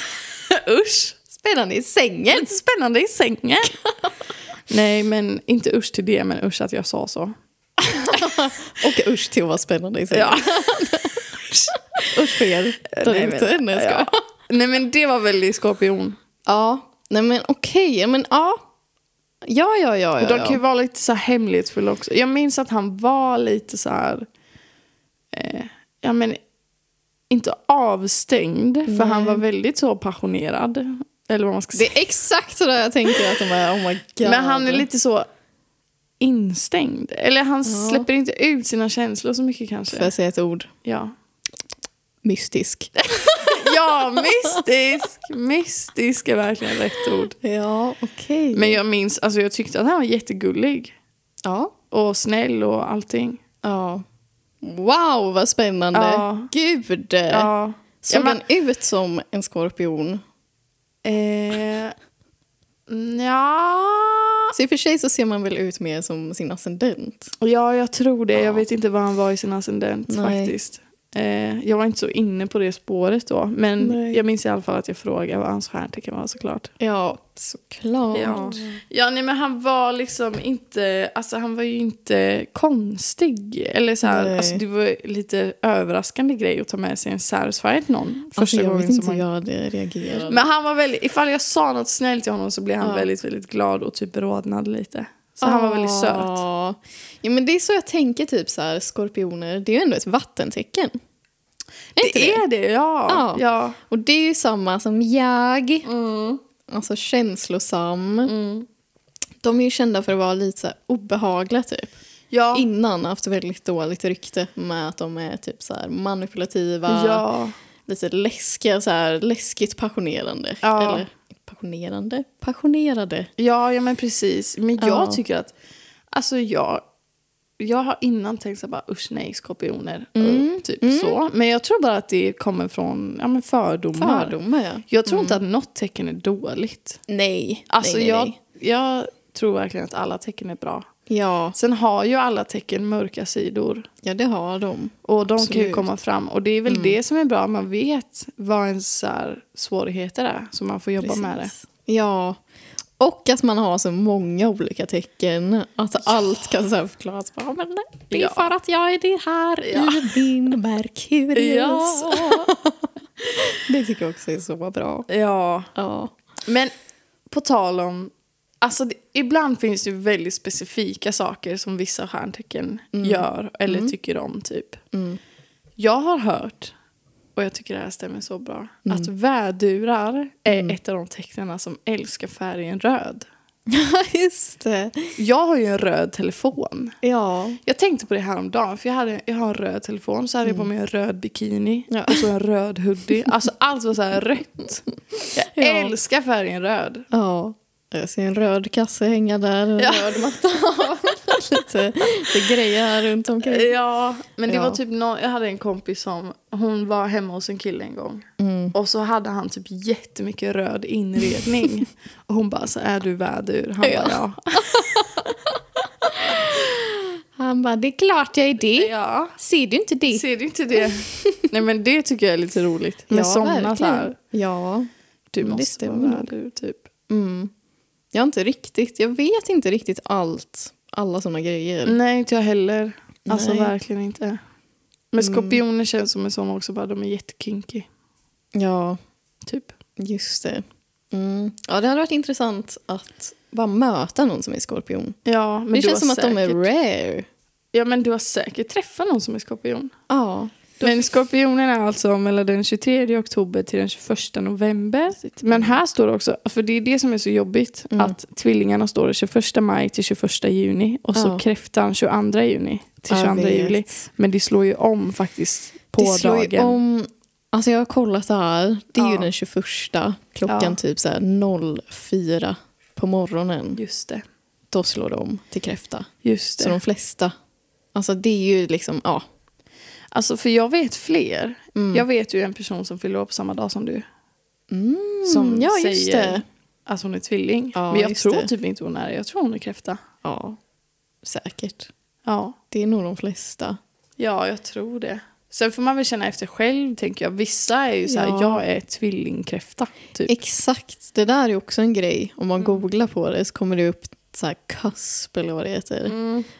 S2: usch!
S1: Spännande i sängen.
S2: Lite spännande i sängen. Nej, men inte usch till det, men usch att jag sa så.
S1: Och usch till att vara spännande i sängen.
S2: Ja.
S1: Usch för er där
S2: Eh, Nej,
S1: ute. Nej, jag skojar.
S2: ja. Nej, men det var väldigt skorpion.
S1: Ja, nej men okej, ja, men ja. Ja, ja, ja. ja,
S2: De
S1: ja.
S2: kan ju vara lite så här hemlighetsfulla också. Jag minns att han var lite så här... Eh, ja, men inte avstängd, för han var väldigt så passionerad. Eller vad man ska
S1: Det
S2: säga.
S1: är exakt sådär jag tänker att de är, oh my god.
S2: Men han är lite så instängd. Eller han
S1: Ja.
S2: släpper inte ut sina känslor så mycket
S1: Får
S2: kanske.
S1: jag säga ett ord?
S2: Ja.
S1: Mystisk.
S2: ja, mystisk! Mystisk är verkligen rätt ord.
S1: Ja, okej.
S2: Men jag minns, alltså jag tyckte att han var jättegullig.
S1: Ja.
S2: Och snäll och allting.
S1: ja. Wow, vad spännande.
S2: Ja.
S1: Gud.
S2: Ja.
S1: Såg
S2: Ja, men-
S1: han ut som en skorpion?
S2: Eh, ja.
S1: Så i och för sig så ser man väl ut mer som sin ascendent.
S2: ja, jag tror det. Jag vet inte vad han var i sin ascendent
S1: Nej.
S2: faktiskt. Eh, jag var inte så inne på det spåret då. Men
S1: Nej.
S2: jag minns i alla fall att jag frågade vad hans stjärntecken var såklart.
S1: Ja, såklart. Alltså,
S2: Ja, ja nej, men han var liksom inte, alltså han var ju inte konstig. Eller så här,
S1: Nej.
S2: alltså, det var lite överraskande grej att ta med sig en satisfied någon. Första
S1: Alltså, jag
S2: gången
S1: vet inte
S2: som
S1: hur
S2: han...
S1: jag reagerade.
S2: Men han var väldigt, ifall jag sa något snällt till honom så blev han
S1: Ja.
S2: väldigt, väldigt glad och typ rodnad lite. Så han var väldigt söt.
S1: Ja. Ja, men det är så jag tänker, typ så här, skorpioner, det är ju ändå ett vattentecken. Är inte
S2: Det är det, ja.
S1: Ja.
S2: ja.
S1: Och det är ju samma som jag,
S2: Mm.
S1: alltså känslosam. De är ju kända för att vara lite så här obehagliga typ.
S2: Ja.
S1: Innan haft väldigt dåligt rykte med att de är typ så här manipulativa,
S2: ja.
S1: lite läskiga, så här läskigt passionerande.
S2: Ja.
S1: Eller passionerande. Passionerade.
S2: Ja, ja men precis. Men jag
S1: Ja.
S2: tycker att, alltså jag, jag har innan tänkt så här bara usch nej skorpioner, eh, typ så. Men jag tror bara att det kommer från ja, men fördomar.
S1: Fördomar, ja.
S2: Jag tror inte att något tecken är dåligt.
S1: Nej.
S2: Mm. Alltså
S1: nej, nej,
S2: jag,
S1: nej.
S2: jag tror verkligen att alla tecken är bra.
S1: Ja.
S2: Sen har ju alla tecken mörka sidor.
S1: ja, det har de.
S2: Och de kan ju
S1: Absolut.
S2: komma fram. Och det är väl det som är bra. Man vet vad ens så här, svårigheter är. Så man får jobba med det.
S1: Precis. Ja. Och att man har så många olika tecken. Att allt kan så här förklaras. Bara, men det är
S2: Ja.
S1: för att jag är det här i min Merkurius. Det tycker jag också är så bra.
S2: ja.
S1: Ja.
S2: Men på tal om... Alltså, det, ibland finns det ju väldigt specifika saker som vissa stjärntecken gör eller tycker om. typ. Jag har hört, och jag tycker det här stämmer så bra, att vädurar är ett av de tecknarna som älskar färgen röd.
S1: Just det.
S2: Jag har ju en röd telefon.
S1: Ja.
S2: Jag tänkte på det här om dagen, för jag, hade, jag har en röd telefon, så hade jag på mig en röd bikini
S1: Mm. Ja.
S2: och så en röd hoodie. Alltså allt var så här rött. Jag
S1: Ja.
S2: älskar färgen röd.
S1: Ja. Jag ser en röd kasse hänga där. En
S2: Ja.
S1: röd matta. lite, lite grejer här runt omkring.
S2: Ja, men det
S1: Ja.
S2: var typ nå jag hade en kompis som, hon var hemma hos en kille en gång.
S1: Mm.
S2: Och så hade han typ jättemycket röd inredning. och hon bara så är du vädur? Han
S1: Ja.
S2: bara ja.
S1: Han bara, det är klart jag är det.
S2: ja.
S1: Ser du inte det?
S2: Ser du inte det? Nej men det tycker jag är lite roligt. Med
S1: ja,
S2: sådana
S1: verkligen.
S2: så här,
S1: Ja.
S2: du
S1: Men det
S2: måste
S1: stämmer
S2: vara
S1: nog.
S2: vädur typ.
S1: Mm. Jag har inte riktigt, jag vet inte riktigt allt. Alla såna grejer.
S2: Nej inte jag heller. Alltså
S1: Nej. Mm.
S2: verkligen inte. Men skorpioner känns som en sån också, bara de är jättekinky.
S1: Ja,
S2: Typ.
S1: just det. Mm. Ja, det hade varit intressant att bara möta någon som är skorpion.
S2: Ja, men
S1: det
S2: du
S1: känns som
S2: har
S1: att de är
S2: säkert-
S1: rare.
S2: Ja men du har säkert träffat någon som är skorpion.
S1: Ja.
S2: Men skorpionen är alltså mellan den 23 oktober till den 21 november. Men här står det också, för det är det som är så jobbigt,
S1: Mm.
S2: att tvillingarna står det 21 maj till 21 juni och så
S1: Ja.
S2: kräftan 22 juni till
S1: Jag
S2: 22
S1: vet.
S2: juli. Men det slår ju om faktiskt på
S1: det slår
S2: dagen.
S1: ju om... Alltså jag har kollat det här. Det är ju
S2: Ja.
S1: den 21. Klockan
S2: Ja.
S1: typ så här 04 på morgonen.
S2: Just det.
S1: Då slår de om till kräfta.
S2: Just
S1: Så
S2: det.
S1: de flesta. Alltså det är ju liksom, ja.
S2: Alltså för jag vet fler.
S1: Mm.
S2: Jag vet ju en person som fyller år på samma dag som du.
S1: Mm,
S2: Som
S1: ja,
S2: säger
S1: just det.
S2: att hon är tvilling.
S1: Ja,
S2: Men jag
S1: just
S2: tror
S1: det.
S2: typ inte hon är det. Jag tror hon är kräfta.
S1: Ja, säkert.
S2: Ja.
S1: Det är nog de flesta.
S2: Ja, jag tror det. Sen får man väl känna efter själv, tänker jag. Vissa är ju så här,
S1: Ja.
S2: jag är tvillingkräfta. Typ.
S1: Exakt, det där är också en grej. Om man googlar på det så kommer det upp så här cusp eller vad det heter.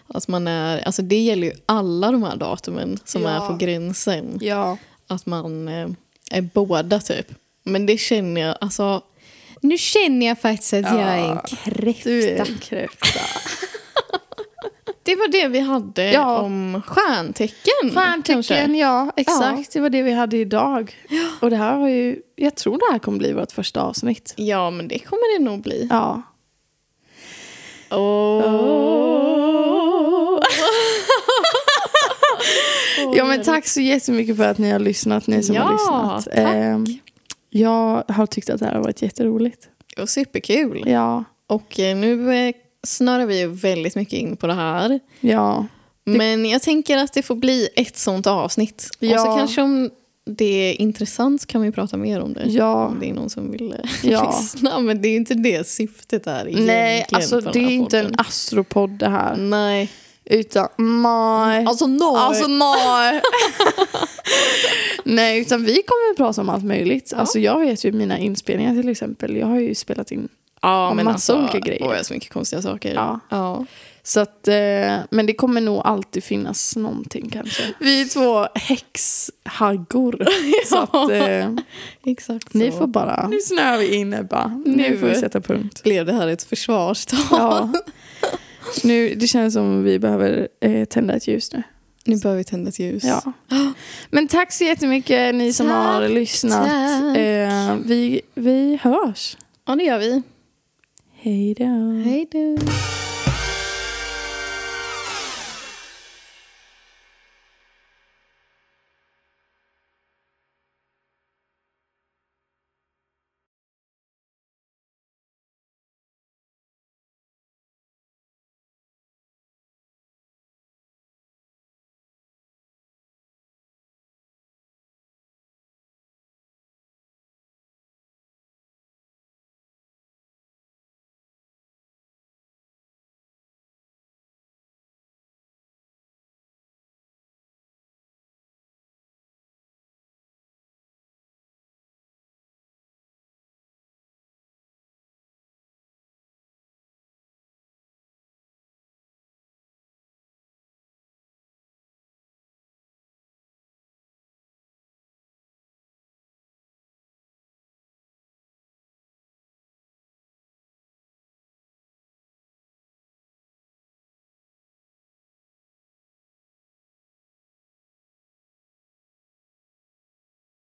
S1: Att man är, alltså det gäller ju alla de här datumen som
S2: Ja.
S1: är på gränsen.
S2: Ja.
S1: Att man eh, är båda typ. Men det känner jag, alltså. Nu känner jag faktiskt att jag är en
S2: Ja,
S1: kräfta.
S2: Du är en kräfta.
S1: Det var det vi hade
S2: Ja.
S1: om stjärntecken. Mm, kanske.
S2: Stjärntecken, ja. Exakt, det var det vi hade idag. Och det här var ju, jag tror det här kommer bli vårt första avsnitt.
S1: Ja, men det kommer det nog bli.
S2: Ja.
S1: Åh.
S2: Ja men tack så jättemycket för att ni har lyssnat, ni som har
S1: Ja,
S2: lyssnat.
S1: tack.
S2: Ehm, jag har tyckt att det här har varit jätteroligt.
S1: Det var superkul.
S2: Ja,
S1: Och eh, nu eh, snörar vi ju väldigt mycket in på det här.
S2: ja.
S1: Men jag tänker att det får bli ett sånt avsnitt. Och så
S2: Ja.
S1: kanske om det är intressant kan vi prata mer om det.
S2: Ja.
S1: Om det är någon som vill eh,
S2: Ja.
S1: lyssna. Men det är ju inte det syftet här egentligen.
S2: Nej, alltså
S1: på den
S2: det är
S1: här
S2: inte en
S1: podden.
S2: astropodd det här.
S1: Nej.
S2: Utan, nej.
S1: Alltså no.
S2: Alltså nej. nej, utan vi kommer att prata om allt möjligt. Alltså jag vet ju mina inspelningar till exempel. Jag har ju spelat in.
S1: ja,
S2: om
S1: men
S2: massa
S1: alltså,
S2: olika grejer.
S1: Åh, jag har så mycket konstiga saker.
S2: Ja.
S1: ja.
S2: Så att, eh, men det kommer nog alltid finnas någonting kanske. Vi är två häxhaggor. Så att eh,
S1: Exakt
S2: ni
S1: så.
S2: får bara... Nu snöar vi in Ebba. Nu
S1: Nu.
S2: får vi sätta punkt.
S1: blev det här ett försvarstal.
S2: Ja. Nu, det känns som vi behöver eh, tända ett ljus nu.
S1: Nu behöver vi tända ett ljus.
S2: Ja. Men tack så jättemycket ni som
S1: Tack,
S2: har lyssnat.
S1: tack.
S2: Eh, vi, vi hörs.
S1: ja det gör vi.
S2: Hej då.
S1: Hej då.